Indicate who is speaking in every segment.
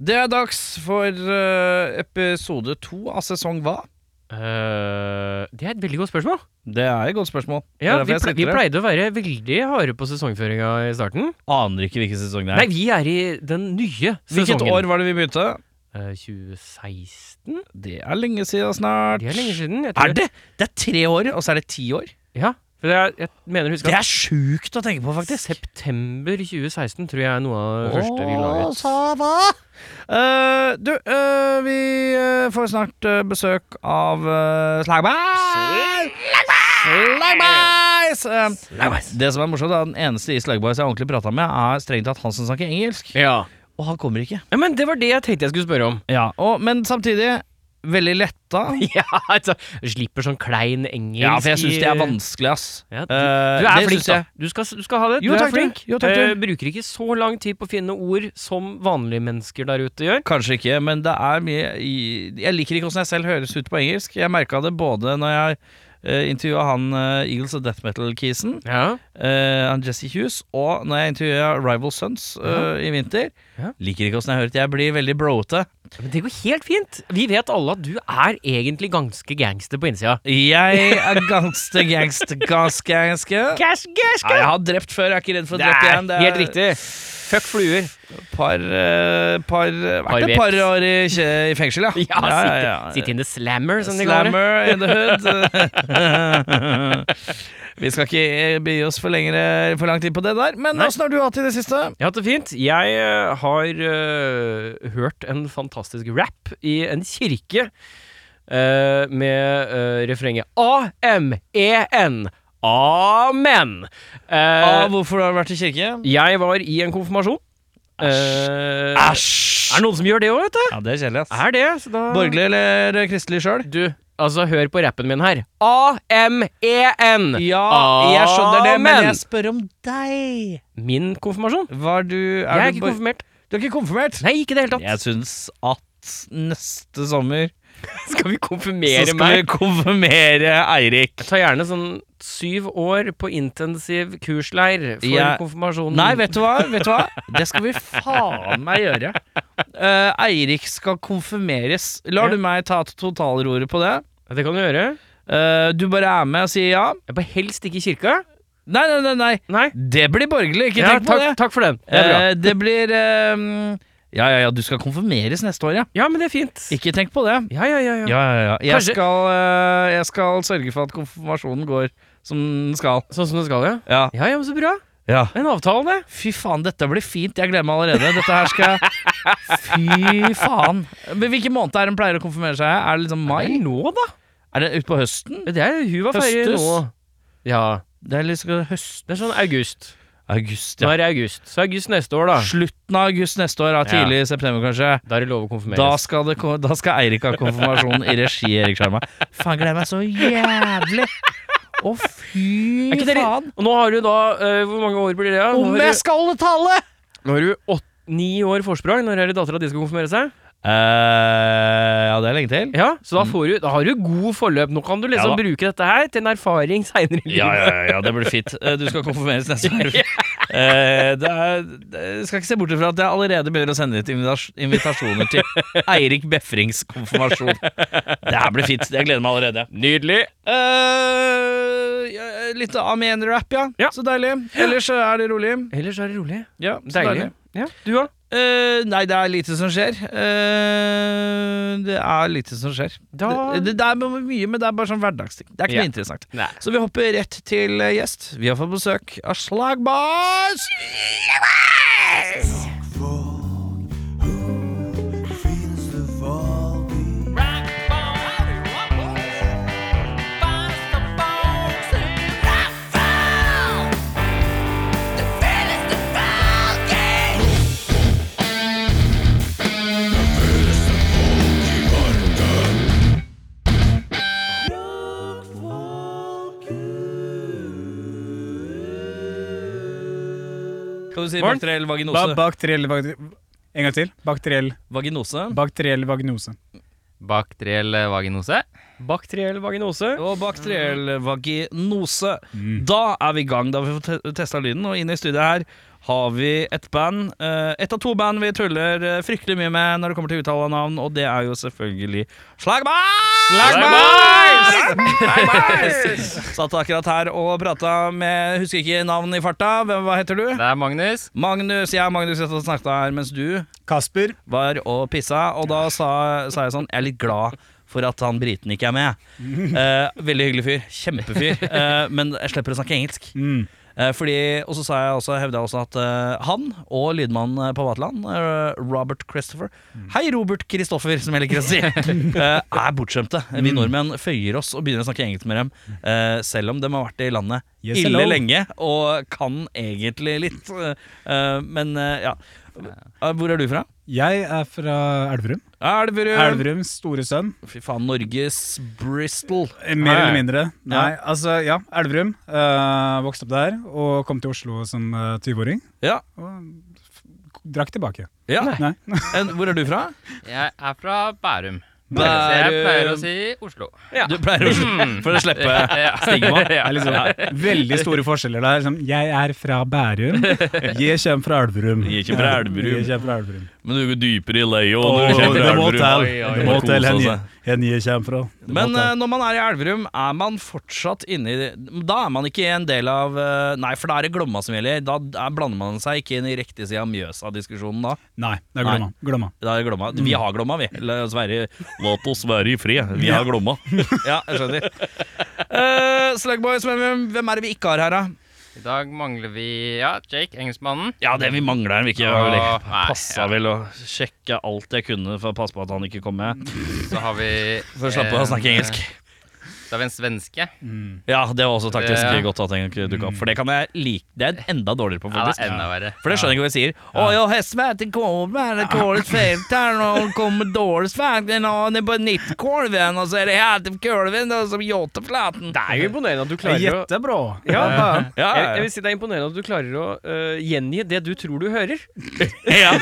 Speaker 1: Det er dags for eh, episode to av sesong hva?
Speaker 2: Eh, det er et veldig godt spørsmål.
Speaker 1: Det er et godt spørsmål.
Speaker 2: Ja,
Speaker 1: Det er derfor
Speaker 2: vi,
Speaker 1: jeg
Speaker 2: ple vi
Speaker 1: sitter her.
Speaker 2: pleide å være veldig harde på sesongføringa i starten.
Speaker 1: Aner ikke hvilken sesong det
Speaker 2: Nei,
Speaker 1: er.
Speaker 2: vi er i den nye sesongen.
Speaker 1: Hvilket år var det vi begynte?
Speaker 2: Eh, 2016?
Speaker 1: Det er lenge siden snart.
Speaker 2: Det er lenge siden. Jeg
Speaker 1: Er det? Det er tre år, og så er det ti år.
Speaker 2: Ja. For jeg, jeg mener å huske
Speaker 1: Det er sjukt å tenke på, faktisk.
Speaker 2: september 2016 tror jeg er noe av det første vi la ut.
Speaker 1: hva? du, eh, vi eh, får snart eh, besøk av uh, Slagberg! Slagbergs! Eh, det som er morsomt, er at den eneste i Slagbergs jeg ordentlig prata med, er strengt tatt han som snakker engelsk.
Speaker 2: Ja.
Speaker 1: Og han kommer ikke.
Speaker 2: ja, men det var det jeg tenkte jeg skulle spørre om.
Speaker 1: Ja, og, Men samtidig veldig letta.
Speaker 2: Ja, altså, Slipper sånn klein engelsk
Speaker 1: Ja, for jeg syns
Speaker 2: i-
Speaker 1: det er vanskelig, ass.
Speaker 2: Ja,
Speaker 1: Eh,
Speaker 2: du, du er
Speaker 1: det
Speaker 2: flink,
Speaker 1: synes
Speaker 2: da.
Speaker 1: jeg.
Speaker 2: Du skal, du skal ha det.
Speaker 1: Jo,
Speaker 2: du
Speaker 1: takk,
Speaker 2: er
Speaker 1: du.
Speaker 2: flink.
Speaker 1: Jo, takk, du.
Speaker 2: Eh, bruker ikke så lang tid på å finne ord som vanlige mennesker der ute gjør.
Speaker 1: Kanskje ikke, men det er mye i- Jeg liker ikke hvordan jeg selv høres ut på engelsk. Jeg merka det både når jeg uh, intervjua han eh, Eagles og Death Metal-kisen,
Speaker 2: Ja.
Speaker 1: eh, han Jesse Hughes, og når jeg intervjua Rival Sons eh, i vinter.
Speaker 2: Ja.
Speaker 1: Liker ikke åssen jeg hører ut. Jeg blir veldig broete.
Speaker 2: Men det går helt fint. Vi vet alle at du er egentlig ganske gangster på innsida.
Speaker 1: Jeg er gangster, gangster, ganske, ganske.
Speaker 2: Gash, gash,
Speaker 1: Ja, jeg har drept før, jeg er ikke redd for å
Speaker 2: Det
Speaker 1: drepe
Speaker 2: er
Speaker 1: igjen.
Speaker 2: helt riktig. Fuck fluer.
Speaker 1: Par, eh, par,
Speaker 2: Par
Speaker 1: vært et par år i, kje- i fengsel, ja.
Speaker 2: Ja, sitte, sitte in the slammer, som de kaller det.
Speaker 1: Slammer in the hood. Vi skal ikke eh, begi oss for, lengre, for lang tid på det der, men
Speaker 2: Nei.
Speaker 1: åssen har du hatt det i det siste?
Speaker 2: Jeg har hatt det fint. Jeg eh, har eh, hørt en fantastisk rap i en kirke eh, med eh, refrenget A-M-E-N. Amen! Eh,
Speaker 1: Ah, hvorfor har du vært i kirke?
Speaker 2: jeg var i en konfirmasjon. Eh,
Speaker 1: Æsj!
Speaker 2: Er det noen som gjør det òg, vet du?
Speaker 1: Ja, det er kjedelig, ass.
Speaker 2: Er det? Så da
Speaker 1: Borgerlig eller kristelig sjøl?
Speaker 2: Du, altså, hør på rappen min her. A-M-E-N.
Speaker 1: Ja, jeg skjønner det, Ah, men
Speaker 2: Amen.
Speaker 1: jeg spør om deg.
Speaker 2: Min konfirmasjon.
Speaker 1: Var du
Speaker 2: jeg
Speaker 1: er
Speaker 2: er
Speaker 1: du
Speaker 2: ikke
Speaker 1: bor-
Speaker 2: konfirmert.
Speaker 1: Du er ikke konfirmert?
Speaker 2: Nei, ikke i det hele tatt.
Speaker 1: Jeg syns at neste sommer
Speaker 2: Skal vi
Speaker 1: så
Speaker 2: konfirmere
Speaker 1: skal vi
Speaker 2: meg?
Speaker 1: konfirmere Eirik.
Speaker 2: Jeg tar gjerne sånn syv år på intensiv kursleir for
Speaker 1: Jeg-
Speaker 2: konfirmasjonen.
Speaker 1: Nei, vet du hva? Vet du hva? Det skal vi faen meg gjøre. Eh, Eirik skal konfirmeres. Lar
Speaker 2: Ja.
Speaker 1: du meg ta totalroret på det?
Speaker 2: Det kan du gjøre.
Speaker 1: Eh, du bare er med og sier ja?
Speaker 2: Jeg bør helst ikke i kirka.
Speaker 1: Nei, nei, nei. nei.
Speaker 2: Nei.
Speaker 1: Det blir borgerlig, ikke
Speaker 2: Ja,
Speaker 1: tenk på
Speaker 2: takk,
Speaker 1: det.
Speaker 2: takk for den. Det er bra.
Speaker 1: Eh, det blir eh, Ja, ja, ja, du skal konfirmeres neste år, ja.
Speaker 2: Ja, men det er fint.
Speaker 1: Ikke tenk på det.
Speaker 2: Ja, ja, ja. ja.
Speaker 1: Ja, ja, ja. Jeg
Speaker 2: Kanskje-
Speaker 1: skal, eh, jeg skal sørge for at konfirmasjonen går som den skal.
Speaker 2: Sånn som det skal, ja.
Speaker 1: Ja.
Speaker 2: Ja, ja, men så bra.
Speaker 1: ja.
Speaker 2: En avtale, det.
Speaker 1: Fy faen, dette blir fint. Jeg gleder meg allerede. Dette her skal Fy faen. Men Hvilken måned er det de pleier å konfirmere seg? Er det liksom
Speaker 2: Det
Speaker 1: mai?
Speaker 2: er nå, da.
Speaker 1: Er det utpå høsten?
Speaker 2: Det er hun var ferdig
Speaker 1: Høstes.
Speaker 2: nå. Ja.
Speaker 1: Det er liksom høst...
Speaker 2: Det er sånn august.
Speaker 1: August,
Speaker 2: Nå
Speaker 1: ja.
Speaker 2: er det august. Så august neste år, da.
Speaker 1: Slutten av august neste år, ja, tidlig i september kanskje.
Speaker 2: Da er det lov å konfirmeres.
Speaker 1: Da skal, det, ko- da skal Eirik ha konfirmasjon i regi Erik Sjarma. Faen, gleder meg så jævlig! Å, fy
Speaker 2: Er ikke dere-
Speaker 1: faen!
Speaker 2: Og nå har du da eh, Hvor mange år blir det? da? Nå
Speaker 1: Om
Speaker 2: har
Speaker 1: jeg
Speaker 2: du-
Speaker 1: skal holde tale!
Speaker 2: Nå har du åt- ni år forsprang. Når er det dattera di skal konfirmere seg?
Speaker 1: eh ja, det er lenge til.
Speaker 2: Ja, så da, får du, da har du god forløp. Nå kan du liksom
Speaker 1: Ja da.
Speaker 2: bruke dette her til en erfaring seinere i livet.
Speaker 1: Ja, ja, ja, det blir fint. Eh, Du skal konfirmeres neste år. Eh, Det er, det- skal ikke se bort ifra at jeg allerede begynner å sende ut invitas- invitasjoner til Eirik Befrings konfirmasjon. Det her blir fint. Jeg gleder meg allerede.
Speaker 2: Nydelig.
Speaker 1: Eh, ja, litt Amen-rap, ja.
Speaker 2: Ja.
Speaker 1: Så deilig. Ellers så er det rolig.
Speaker 2: Ellers er det rolig.
Speaker 1: Ja, så
Speaker 2: Deilig.
Speaker 1: deilig.
Speaker 2: Ja, du òg.
Speaker 1: Eh, nei, det er lite som skjer. Eh, det er lite som skjer.
Speaker 2: Da-
Speaker 1: Det, det, det er mye, men det er bare sånn hverdagsting. Det er ikke
Speaker 2: Ja.
Speaker 1: noe interessant.
Speaker 2: Nei.
Speaker 1: Så vi hopper rett til eh, gjest. Vi har fått besøk av Slagbars. Kan du si
Speaker 2: Morn.
Speaker 1: bakteriell vaginose?
Speaker 3: Ba bakteriell vag- En gang til. Bakteriell,
Speaker 1: vaginose.
Speaker 3: bakteriell vagnose.
Speaker 4: Bakteriell
Speaker 3: eh,
Speaker 4: vaginose.
Speaker 2: Bakteriell vaginose.
Speaker 1: Og bakteriell vaginose. Da er vi i gang. Da har vi fått te- testa lyden, og inne i studiet her har vi et band. eh, Et av to band vi tuller eh, fryktelig mye med når det kommer til uttale av navn, og det er jo selvfølgelig Slagboys! Slagboys! Satt akkurat her og prata med Husker ikke navnet i farta. Hvem, hva heter du?
Speaker 4: Det er Magnus.
Speaker 1: Magnus. Jeg og Magnus satt og snakket her mens du
Speaker 3: Kasper.
Speaker 1: var og pissa, og da sa, sa jeg sånn Jeg er litt glad for at han briten ikke er med. Eh, veldig hyggelig fyr. Kjempefyr. Eh, men jeg slipper å snakke engelsk.
Speaker 3: Mm.
Speaker 1: Eh, fordi, og så sa jeg også, hevda jeg også at eh, han og lydmannen eh, på Vaterland, eh, Robert Christopher
Speaker 3: Mm.
Speaker 1: Hei, Robert Christoffer, som jeg liker å si, eh, er bortskjemte.
Speaker 3: Mm.
Speaker 1: Vi nordmenn føyer oss og begynner å snakke engelsk med dem, eh, selv om de har vært i landet
Speaker 3: Yes,
Speaker 1: ille
Speaker 3: hello.
Speaker 1: lenge og kan egentlig litt. eh, eh, men eh, ja. Eh, Hvor er du fra?
Speaker 3: Jeg er fra Elverum.
Speaker 1: Elverum.
Speaker 3: Elverums store sønn.
Speaker 1: Fy faen, Norges Bristol.
Speaker 3: Eh, Mer
Speaker 2: Nei.
Speaker 3: eller mindre.
Speaker 1: Ja.
Speaker 3: Nei, altså, ja. Elverum. Eh, vokste opp der og kom til Oslo som eh, 20-åring.
Speaker 1: Ja.
Speaker 3: Og f- drakk tilbake.
Speaker 1: ja.
Speaker 3: Nei.
Speaker 1: En, hvor er du fra?
Speaker 4: Jeg er fra Bærum. Så jeg pleier å
Speaker 1: Bærum.
Speaker 4: si Oslo. Hmm.
Speaker 1: Du pleier å For å slippe
Speaker 4: Ja.
Speaker 1: stigma.
Speaker 3: Det er liksom veldig store forskjeller der. Som, jeg er fra Bærum. Jeg kommer fra Elverum.
Speaker 1: Jeg kommer fra Elverum.
Speaker 3: Jeg kommer fra Elverum.
Speaker 1: Men du går dypere i leia og når
Speaker 3: Åh,
Speaker 1: du kommer
Speaker 3: det
Speaker 1: til
Speaker 3: må
Speaker 1: Elverum.
Speaker 3: til.
Speaker 1: Oi, oi,
Speaker 3: Det
Speaker 1: oi.
Speaker 3: må til,
Speaker 1: Kose
Speaker 3: hen
Speaker 1: seg.
Speaker 3: hen jeg kommer fra. Det må
Speaker 1: Men
Speaker 3: til.
Speaker 1: eh, når man er i Elverum, er man fortsatt inni Da er man ikke en del av eh, Nei, for da er det Glomma som gjelder. Da er, blander man seg ikke inn i riktig side av Mjøsa-diskusjonen da.
Speaker 3: Nei, det er
Speaker 1: Nei.
Speaker 3: Glomma. Glomma.
Speaker 1: Da er det Glomma. Vi har Glomma, vi. Mm. La oss være, la oss være i fred. Vi har Glomma. ja, jeg skjønner. Uh, Slugboys, hvem, hvem er det vi ikke har her, da?
Speaker 4: I dag mangler vi ja, Jake, engelskmannen.
Speaker 1: Ja, det vi mangler er vi ikke.
Speaker 4: Åh,
Speaker 1: Jeg
Speaker 4: nei,
Speaker 1: passa
Speaker 4: ja.
Speaker 1: vel å sjekke alt jeg kunne for å passe på at han ikke kom med.
Speaker 4: Så har vi
Speaker 1: For å slappe av å
Speaker 4: en,
Speaker 1: snakke engelsk.
Speaker 4: eh, Så har vi en svenske.
Speaker 1: Ja, det var også taktisk
Speaker 4: Det-
Speaker 1: godt at den ikke dukket opp. For det kan jeg like Det er jeg enda dårligere på,
Speaker 4: Ja, det
Speaker 1: faktisk.
Speaker 4: er enda verre.
Speaker 1: For det skjønner jeg ikke hva jeg sier. Å, jeg har svært kommer, det kommer felt her, og det kommer dårlig svært, og det er på nittkolven, og så er det helt kolven, og så jåteflaten.
Speaker 2: Det er jo imponerende at du klarer å
Speaker 3: Jättebra.
Speaker 2: ja, jeg,
Speaker 1: Ja, ja.
Speaker 2: jeg vil si Det er imponerende at du klarer å eh, gjengi det du tror du hører.
Speaker 1: Ja,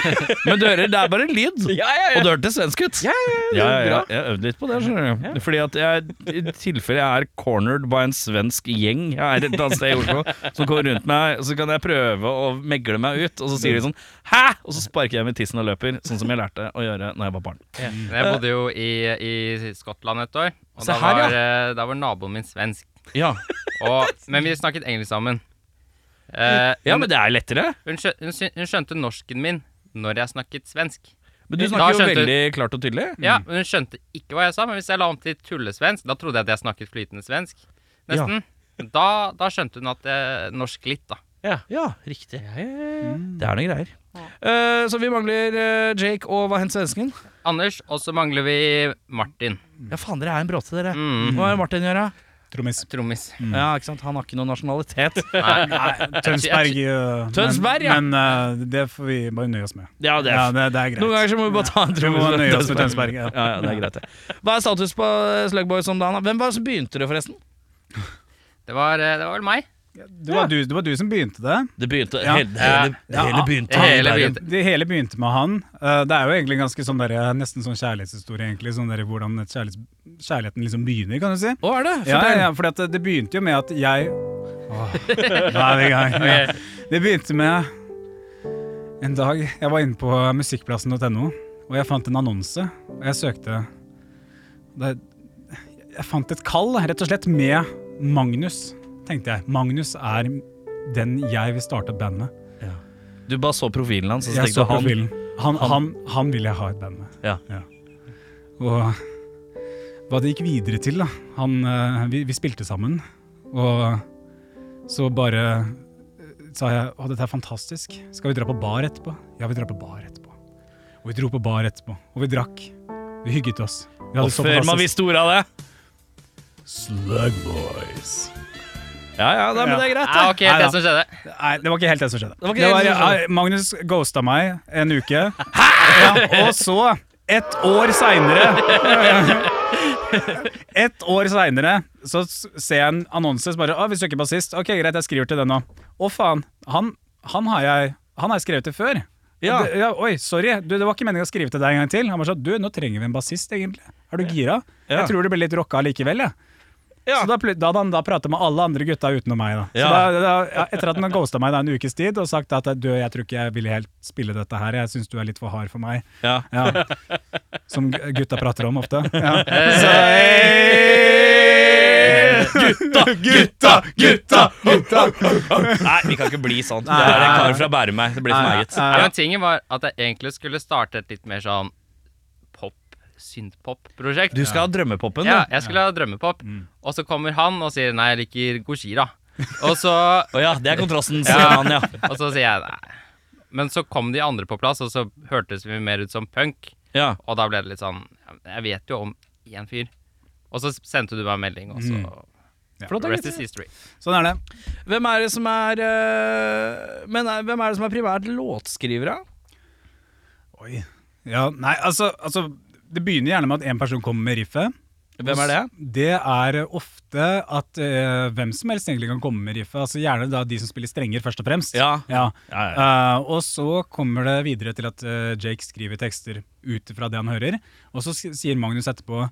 Speaker 1: men du hører, det er bare lyd.
Speaker 2: Ja, ja,
Speaker 1: Og det hørtes svensk ut.
Speaker 2: Ja,
Speaker 1: Ja, ja, ja.
Speaker 2: bra.
Speaker 1: Jeg øvde litt på det. skjønner du Fordi at jeg, I tilfelle jeg er cornered by en svensk gjeng her et eller annet sted i Oslo, som kommer rundt meg, så kan jeg prøve å megle meg ut, og så sier de sånn Hæ?! Og så sparker jeg med tissen og løper, sånn som jeg lærte å gjøre Når jeg var barn.
Speaker 4: Men Jeg bodde jo i, i Skottland et år, og
Speaker 1: Se
Speaker 4: da
Speaker 1: her,
Speaker 4: var,
Speaker 1: ja.
Speaker 4: eh, da var naboen min svensk.
Speaker 1: Ja,
Speaker 4: Og, men vi snakket engelsk sammen. Eh,
Speaker 1: ja men det er lettere.
Speaker 4: hun, skjø, hun, syn- hun skjønte norsken min når jeg snakket svensk.
Speaker 1: Men du
Speaker 4: Da
Speaker 1: snakker jo
Speaker 4: skjønte-
Speaker 1: veldig klart og tydelig.
Speaker 4: Ja, men Hun skjønte ikke hva jeg sa, men hvis jeg la om til tullesvensk, da trodde jeg at jeg snakket flytende svensk. Nesten. Da, da skjønte hun at jeg norsk litt, da.
Speaker 1: Ja, riktig. Det er noen greier. Eh, så vi mangler eh, Jake og hva hendte svensken?
Speaker 4: Anders, og så mangler vi Martin.
Speaker 1: Ja, faen, dere er en bråte, dere.
Speaker 4: Mm.
Speaker 1: Hva har Martin gjøre?
Speaker 3: Trommis.
Speaker 4: Trommis.
Speaker 1: Ja, ikke sant? Han har ikke noen nasjonalitet.
Speaker 3: Tønsberg. eh, men-
Speaker 1: Tønsberg, ja.
Speaker 3: Men eh, det får vi bare nøye oss med.
Speaker 1: Ja, det er
Speaker 3: Ja, det, det er greit.
Speaker 1: Noen ganger så må vi bare ta en
Speaker 3: Vi
Speaker 1: trommis
Speaker 3: må
Speaker 1: fra
Speaker 3: nøye oss med
Speaker 1: Tønsberg.
Speaker 3: Tønsberg. Ja.
Speaker 1: Ja, ja, det er greit det Hva er status på Slugboys om dagen? da? Hvem var det som begynte det forresten?
Speaker 4: Det var, eh, det var vel meg.
Speaker 3: Det, var du, det var du som begynte det.
Speaker 1: Det begynte
Speaker 3: Ja. hele- Ja. hele
Speaker 1: begynte
Speaker 4: Hele begynte.
Speaker 3: Det hele begynte med han. Eh, Det er jo egentlig ganske sånn der, nesten sånn kjærlighetshistorie, egentlig. Sånn der, hvordan et kjærlighets, kjærligheten liksom begynner, kan du si.
Speaker 1: Å, er det?
Speaker 3: Ja,
Speaker 1: Fortell.
Speaker 3: ja, for det, det begynte jo med at jeg Åh, Nå er vi i gang. Ja. Det begynte med en dag jeg var inne på musikkplassen.no, og jeg fant en annonse. Og jeg søkte det, Jeg fant et kall, rett og slett, med Magnus, tenkte jeg. Magnus er den jeg vil starte et band med.
Speaker 1: Du bare så profilen hans, og så
Speaker 3: Jeg så
Speaker 1: tenkte du han
Speaker 3: profilen. Han, han, han, vil jeg ha et band med.
Speaker 1: Ja.
Speaker 3: Og hva det gikk videre til, da han, eh, vi, vi spilte sammen, og så bare eh, sa jeg å, dette er fantastisk. Skal vi dra på bar etterpå? Ja, vi drar på bar etterpå. Og vi dro på bar etterpå, og vi drakk. Vi hygget oss. Vi
Speaker 1: Og før man visste ordet av det
Speaker 3: Slug Boys.
Speaker 1: Ja, ja, da, men det er greit
Speaker 4: Ja,
Speaker 1: da
Speaker 4: ok, det
Speaker 3: Neida.
Speaker 4: som skjedde.
Speaker 3: Nei, det var ikke helt det som skjedde.
Speaker 1: var ikke helt det som skjedde.
Speaker 3: nei, Magnus ghosta meg en uke. Ja, og så, ett år seinere Ett år seinere så s- ser jeg en annonse som bare Å, vi søker bassist. Ok, greit, jeg skriver til den nå. Å, faen. Han, han har jeg han har jeg skrevet til før.
Speaker 1: Ja.
Speaker 3: Det, ja, oi, sorry. Du, det var ikke meningen å skrive til sånn, deg en gang til. Han bare sa du, nå trenger vi en bassist, egentlig. Er du gira?
Speaker 1: Ja.
Speaker 3: Jeg tror det blir litt rocka likevel, jeg.
Speaker 1: Ja.
Speaker 3: Så da, pl- da hadde han da pratet med alle andre gutta utenom meg. Da. Så
Speaker 1: Ja.
Speaker 3: da, da, ja, etter at han ghosta meg da en ukes tid og sagt at eh, du, jeg tror ikke jeg ville helt spille dette her, jeg syns du er litt for hard for meg.
Speaker 1: Ja.
Speaker 3: Ja. Som gu- gutta prater om ofte. Ja.
Speaker 4: Eh,
Speaker 3: Eh,
Speaker 1: Gutta, gutta, gutta! Nei, vi kan ikke bli sånn. Det er en kar fra Bærum her. Det blir for meget.
Speaker 4: Ja, men tingen var at jeg egentlig skulle starte et litt mer sånn pop, synthpop-prosjekt.
Speaker 1: Du skal Mm. ha drømmepopen,
Speaker 4: Ja,
Speaker 1: du.
Speaker 4: jeg skulle ha drømmepop. Og så kommer han og sier nei, jeg liker Gojira. Og så,
Speaker 1: Å ja, det er kontrasten. sier
Speaker 4: Ja.
Speaker 1: han, ja.
Speaker 4: og så sier jeg nei. Men så kom de andre på plass, og så hørtes vi mer ut som punk.
Speaker 1: ja.
Speaker 4: Og da ble det litt sånn ja, men Jeg vet jo om én fyr. Og så sendte du meg en melding, og så
Speaker 1: Flott, da,
Speaker 4: Rest is
Speaker 1: gutter.
Speaker 4: history.
Speaker 3: Sånn er det.
Speaker 1: Hvem er det som er øh, Men er- hvem er det som er primært låtskriver, da?
Speaker 3: Oi. Ja, nei, altså, altså Det begynner gjerne med at én person kommer med riffet.
Speaker 1: Hvem er det?
Speaker 3: Det er ofte at eh, hvem som helst egentlig kan komme med riffet. Altså Gjerne da de som spiller strenger, først og fremst.
Speaker 1: Ja.
Speaker 3: Ja.
Speaker 1: Ja, ja,
Speaker 3: Eh, og så kommer det videre til at eh, Jake skriver tekster ut fra det han hører. Og så s- sier Magnus etterpå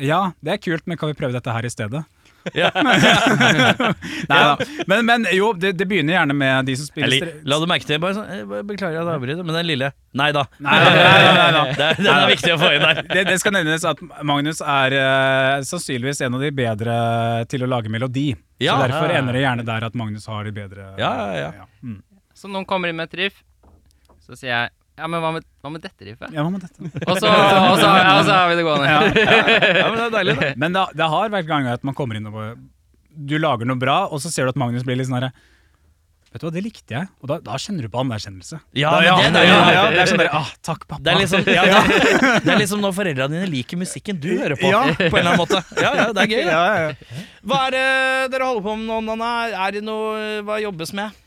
Speaker 3: ja, det er kult, men kan vi prøve dette her i stedet?
Speaker 1: Ja.
Speaker 3: Nei da. Men, men jo, det, det begynner gjerne med de som spiller
Speaker 1: Eller,
Speaker 3: stre-
Speaker 1: la du merke til bare sånn, eh, bare Beklager at jeg avbryter, men den lille Nei da.
Speaker 3: Nei, nei, nei, nei, nei.
Speaker 1: Det, den er viktig å få inn der.
Speaker 3: det, det skal nevnes at Magnus er eh, sannsynligvis en av de bedre til å lage melodi.
Speaker 1: Ja.
Speaker 3: så derfor ender det gjerne der at Magnus har de bedre
Speaker 1: Ja, ja, ja.
Speaker 3: Mm.
Speaker 4: Så noen kommer inn med et riff, så sier jeg ja, men hva med, hva med dette riffet?
Speaker 3: ja hva med dette?
Speaker 4: Og så, og så, ja, så er vi det gående.
Speaker 1: Ja, men det er deilig, det.
Speaker 3: Men det, det har vært ganger at man kommer inn og bare Du lager noe bra, og så ser du at Magnus blir litt sånn herre Vet du hva, det likte jeg. Og da, da kjenner du på anerkjennelse.
Speaker 1: Ja,
Speaker 3: da,
Speaker 1: men det er deilig.
Speaker 3: det, ja, ja, det er sånn derre ah, Takk, pappa.
Speaker 1: Det er liksom, ja, det, er- det er liksom når foreldrene dine liker musikken du hører på.
Speaker 3: Ja.
Speaker 1: På en eller annen måte. Ja, ja, det er gøy.
Speaker 3: ja,
Speaker 1: det.
Speaker 3: ja, ja.
Speaker 1: Hva er det dere holder på med nå, Nanna? Er det noe Hva jobbes med?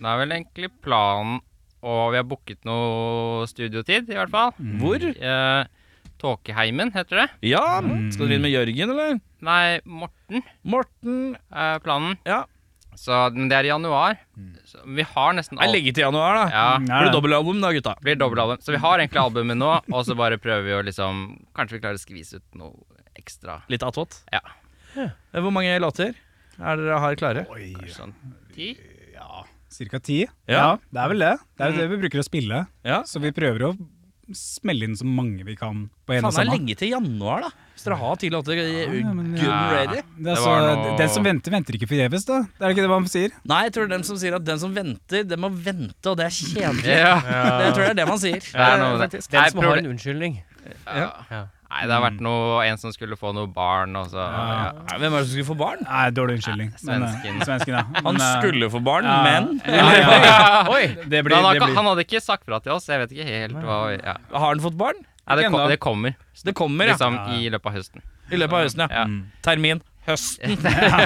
Speaker 4: Det er vel egentlig planen, og vi har booket noe studiotid, i hvert fall.
Speaker 1: Hvor?
Speaker 4: Eh, Tåkeheimen, heter det.
Speaker 1: Ja, skal dere inn med Jørgen, eller?
Speaker 4: Nei, Morten
Speaker 1: Morten
Speaker 4: er planen.
Speaker 1: Ja.
Speaker 4: Så, men det er i januar. Så vi har nesten
Speaker 1: Jeg legger til januar, da.
Speaker 4: Ja,
Speaker 3: Mm,
Speaker 1: Blir
Speaker 3: ja,
Speaker 1: det
Speaker 3: ja.
Speaker 1: dobbeltalbum da, gutta?
Speaker 4: blir dobbeltalbum. Så vi har egentlig albumet nå, og så bare prøver vi å liksom Kanskje vi klarer å skvise ut noe ekstra.
Speaker 1: Litt attåt?
Speaker 4: Ja.
Speaker 1: Eh, Hvor mange låter er dere har klare?
Speaker 3: Oi,
Speaker 4: Kanskje Sånn ti?
Speaker 3: ja. Cirka ti.
Speaker 1: Ja. Mm.
Speaker 3: Det er vel det. Det er jo det vi bruker å spille.
Speaker 1: Ja.
Speaker 3: Så vi prøver å smelle inn så mange vi kan på en
Speaker 1: Faen, det
Speaker 3: og
Speaker 1: er
Speaker 3: samme.
Speaker 1: lenge til januar, da. Hvis dere har ti låter
Speaker 3: ja, men-
Speaker 1: good and ready.
Speaker 3: Det er
Speaker 4: Det
Speaker 3: så,
Speaker 4: var noe-
Speaker 3: Den som venter, venter ikke forgjeves, da. Det er ikke det man sier?
Speaker 1: Nei, jeg tror dem som sier at den som venter, den må vente, og det er kjedelig.
Speaker 4: Ja.
Speaker 1: Det jeg tror jeg er det man sier.
Speaker 4: Ja, det er noe med det.
Speaker 1: faktisk.
Speaker 2: Eh,
Speaker 4: Nei,
Speaker 2: Den som har
Speaker 4: proble-
Speaker 2: en unnskyldning.
Speaker 4: ja. Nei, det har vært noe En som skulle få noe barn, og så ja.
Speaker 1: Nei, Hvem er det som skulle få barn?
Speaker 3: Nei, dårlig unnskyldning. Men, eh,
Speaker 4: svensken.
Speaker 3: svensken ja.
Speaker 1: Han
Speaker 3: Men, eh,
Speaker 1: skulle få barn,
Speaker 3: ja.
Speaker 1: men
Speaker 3: Ja, ja, ja.
Speaker 2: Oi!
Speaker 3: Det blir,
Speaker 4: Men han, har
Speaker 3: det
Speaker 4: ikke-
Speaker 3: blir.
Speaker 4: han hadde ikke sagt fra til oss. Jeg vet ikke helt hva ja.
Speaker 1: har han fått barn?
Speaker 4: Nei, det, kom,
Speaker 3: ennå.
Speaker 4: det kommer.
Speaker 1: Det kommer, ja.
Speaker 4: Liksom i løpet av høsten.
Speaker 1: I løpet av høsten, ja.
Speaker 4: Ja.
Speaker 3: mm.
Speaker 1: Termin høsten.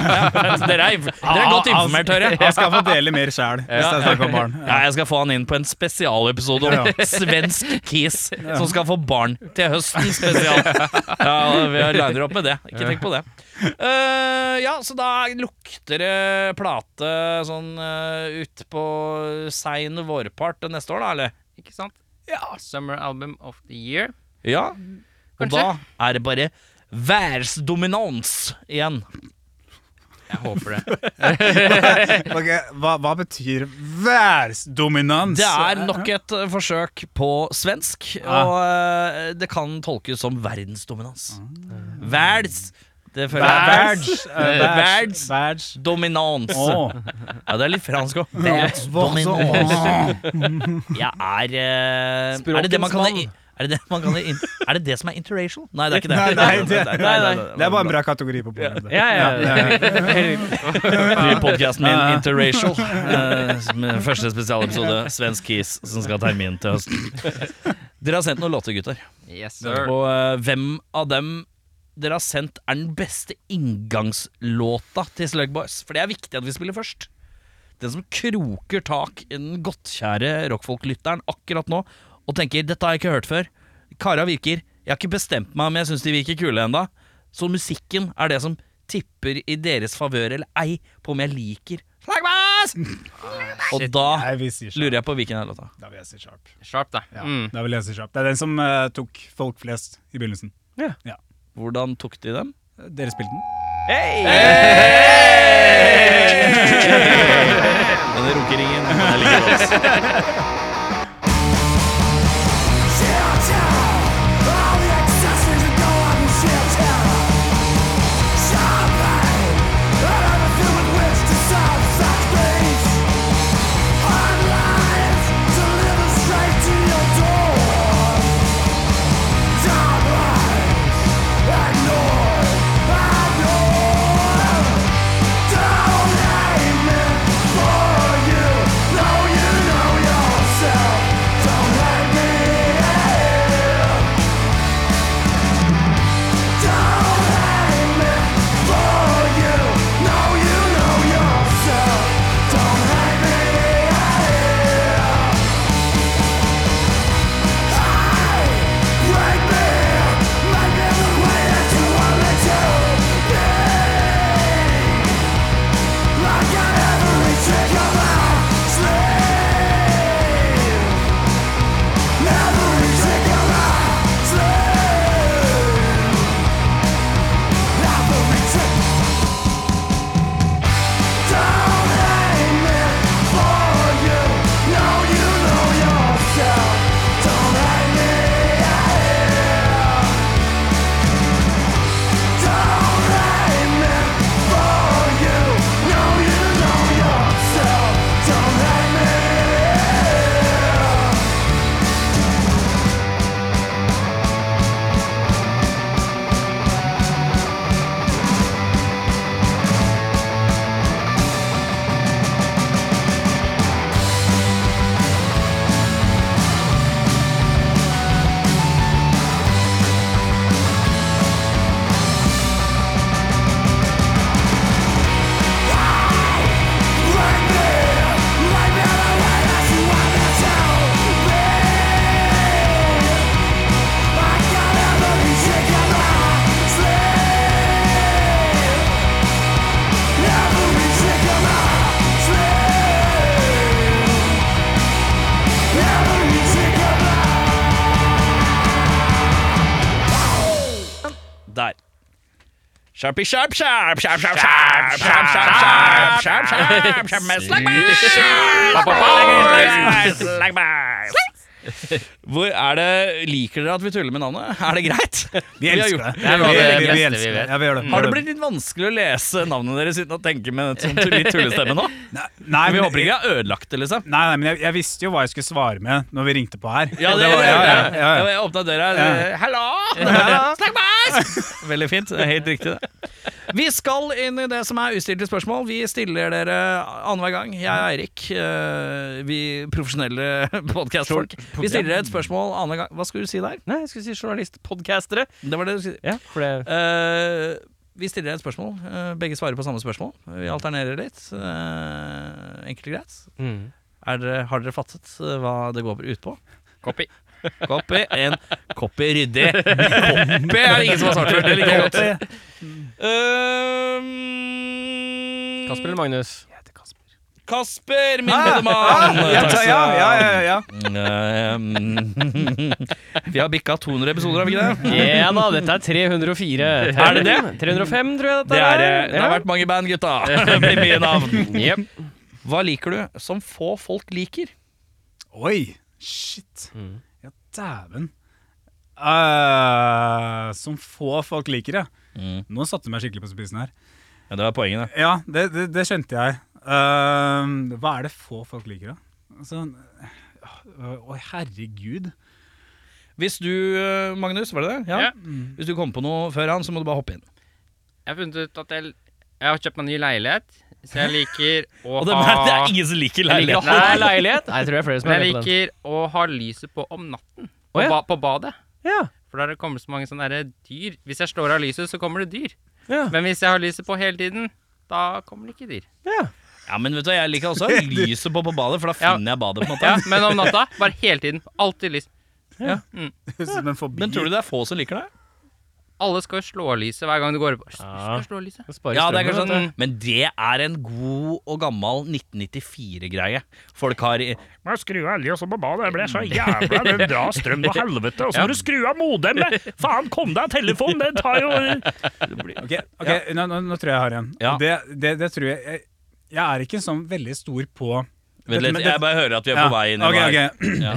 Speaker 1: Dere er, dere er godt informert, hører jeg.
Speaker 3: Han skal få dele mer sjæl hvis det er snakk om barn.
Speaker 1: Ja, jeg skal få han inn på en spesialepisode om svensk kis som skal få barn til høsten spesial. Ja, vi liner opp med det. Ikke tenk på det. Eh, ja, så da lukter det plate sånn uh, utpå sein vårpart neste år, da, eller?
Speaker 4: Ikke sant? Ja. Summer album of the year.
Speaker 1: Ja. Og
Speaker 4: Kanskje.
Speaker 1: da er det bare værsdominans igjen.
Speaker 4: Jeg håper det.
Speaker 3: Ok, hva, hva betyr værsdominans?
Speaker 1: Det er nok et eh, forsøk på svensk,
Speaker 3: Ja.
Speaker 1: og eh, det kan tolkes som verdensdominans.
Speaker 3: Ah.
Speaker 1: Verds Det føler jeg
Speaker 3: Værds.
Speaker 1: Eh, Værds.
Speaker 3: Værds.
Speaker 1: Dominans.
Speaker 3: Åh.
Speaker 1: Ja, det er litt fransk òg. Jeg er eh, Er det det man kan
Speaker 2: Språkens mann.
Speaker 1: er det, det man kaller in, er det det som er interracial? Nei, det er ikke det.
Speaker 3: Nei, nei, det,
Speaker 1: Nei,
Speaker 3: nei,
Speaker 1: nei,
Speaker 3: nei.
Speaker 1: nei.
Speaker 3: det er bare en bra kategori på bordet.
Speaker 2: Ja, ja.
Speaker 1: Nye podkasten min,
Speaker 3: Ja, ja.
Speaker 1: Interracial. eh, som er første spesialepisode, Svensk Kis, som skal ha termin til høsten. Dere har sendt noen låter, gutter.
Speaker 4: Yes, sir.
Speaker 1: Og eh, hvem av dem dere har sendt, er den beste inngangslåta til Slug Boys? For det er viktig at vi spiller først. Den som kroker tak i den godtkjære rockfolk-lytteren akkurat nå og tenker 'dette har jeg ikke hørt før'. Kara virker. Jeg har ikke bestemt meg om jeg syns de virker kule enda Så musikken er det som tipper i deres favør eller ei på om jeg liker Slug Boys! Og da
Speaker 3: Nei, vi sier
Speaker 1: lurer
Speaker 3: sharp.
Speaker 1: jeg på hvilken er låta.
Speaker 3: Da vil jeg si sharp.
Speaker 4: Sharp, da.
Speaker 3: Ja,
Speaker 4: Mm.
Speaker 3: da vil jeg si sharp. Det er den som eh, tok folk flest i begynnelsen.
Speaker 1: Hvordan tok de dem?
Speaker 3: Dere spilte den?
Speaker 1: Denne runkeringen, den ligger hos oss. Der. Sharpy, sharp, sharp, sharp, sharp, sharp, sharp, sharp, sharp, sharp, sharp, sharp, sharp, Slagbar! Slagbar! Slagbar! Hvor er det Liker dere at vi tuller med navnet? Er det greit?
Speaker 3: Vi
Speaker 1: har
Speaker 3: elsker
Speaker 1: gjort-
Speaker 3: det.
Speaker 4: Det er noe av det
Speaker 3: Vi- vi- vi
Speaker 4: beste vi
Speaker 3: elsker det.
Speaker 4: vet.
Speaker 3: Ja, vi gjør det.
Speaker 1: Mm. Har det blitt litt vanskelig å lese navnet deres uten å tenke med sånn tull- litt tullestemme nå?
Speaker 3: Nei, nei,
Speaker 1: Vi
Speaker 3: men-
Speaker 1: håper ikke jeg har ødelagt det, liksom.
Speaker 3: Nei, nei, men jeg, jeg visste jo hva jeg skulle svare med når vi ringte på her.
Speaker 1: Ja, det,
Speaker 3: var, ja, ja, ja, ja.
Speaker 1: Jeg åpna døra.
Speaker 3: Ja.
Speaker 1: Hallo! Snakkes! Veldig fint. det er Helt riktig, det. Vi skal inn i det som er ustilte spørsmål. Vi stiller dere annenhver gang. Jeg og Eirik, eh, vi profesjonelle podkastfolk, vi stiller dere et spørsmål annenhver gang. Hva skulle du si der?
Speaker 2: Nei, jeg skulle si journalistpodcastere.
Speaker 1: Det var det du skulle si.
Speaker 2: Ja, for det
Speaker 1: Eh, vi stiller dere et spørsmål. Eh, begge svarer på samme spørsmål. Vi alternerer litt. Eh, enkelt og greit.
Speaker 2: mm.
Speaker 1: Er dere, har dere fattet eh, hva det går ut på?
Speaker 4: Copy.
Speaker 1: Copy. En copy ryddig. Copy er det ingen som har svart før. Det liker jeg godt. Ehm,
Speaker 2: Kasper eller Magnus?
Speaker 1: Kasper, min
Speaker 3: Ah,
Speaker 1: medmann.
Speaker 3: ja, ja, ja, ja, ja.
Speaker 1: Altså- vi har bikka 200 episoder, har vi ikke det?
Speaker 2: Ja da, dette er 304.
Speaker 1: Er det det?
Speaker 2: 305, tror jeg dette
Speaker 1: Det, er, eh,
Speaker 2: er.
Speaker 1: det har vært mange band, gutta. Med mye navn.
Speaker 2: Jep.
Speaker 1: Hva liker du som få folk liker?
Speaker 3: Oi, shit.
Speaker 2: Mm.
Speaker 3: Ja, dæven. Eh, som få folk liker, ja. Nå satte du meg skikkelig på spissen her.
Speaker 1: Mm. Ja, det var poenget,
Speaker 3: Ja, det, det, det skjønte jeg. Eh, hva er det få folk liker, da? Altså, øh, Å, herregud.
Speaker 1: Hvis du, eh, Magnus, var det det?
Speaker 4: Ja.
Speaker 1: Hvis du kom på noe før han, så må du bare hoppe inn.
Speaker 4: Jeg har funnet ut at jeg, jeg har kjøpt meg ny leilighet, så jeg liker å
Speaker 1: Og det,
Speaker 4: ha
Speaker 1: det er ingen som liker
Speaker 2: Jeg liker å
Speaker 1: leilighet.
Speaker 2: ha
Speaker 4: Nei.
Speaker 2: leilighet. Nei, jeg tror det er flere som
Speaker 4: Men
Speaker 2: er
Speaker 4: jeg
Speaker 2: med på den.
Speaker 4: liker å ha lyset på om natten. På,
Speaker 2: Å, ja.
Speaker 4: ba, på badet.
Speaker 2: Ja.
Speaker 4: For der kommer det så mange sånne der dyr. Hvis jeg slår av lyset, så kommer det dyr.
Speaker 2: Ja.
Speaker 4: Men hvis jeg har lyset på hele tiden, da kommer det ikke dyr.
Speaker 2: ja.
Speaker 1: Ja, men vet du, Jeg liker også lyset på på badet, for da
Speaker 4: Ja.
Speaker 1: finner jeg badet. på en måte
Speaker 4: Ja, men om natta, bare hele tiden. Alltid lys.
Speaker 3: Men forbi
Speaker 1: Men tror du det er få som liker det?
Speaker 4: Alle skal jo slå av lyset hver gang du går opp. Husk
Speaker 2: Ja.
Speaker 4: å slå av lyset.
Speaker 2: Sparer
Speaker 1: Ja, det er
Speaker 2: strømmen,
Speaker 1: kanskje
Speaker 2: vet
Speaker 1: sånn, men det er en god og gammel 1994-greie. Folk har i-
Speaker 5: Men skru av olja på badet, det ble så jævla Det drar strøm til helvete. Og så må du skru av modemet! Faen, kom deg en telefon! Det tar jo
Speaker 3: Ok, ok, nå, nå, nå tror jeg jeg har en.
Speaker 1: Ja.
Speaker 3: Det, det, det tror jeg, jeg Jeg er ikke sånn veldig stor på
Speaker 1: Vent
Speaker 3: Dette-
Speaker 1: litt,
Speaker 3: dette-
Speaker 1: jeg bare hører at vi er på vei inn i
Speaker 3: ok,
Speaker 1: noe her.
Speaker 3: ok.
Speaker 1: Ja.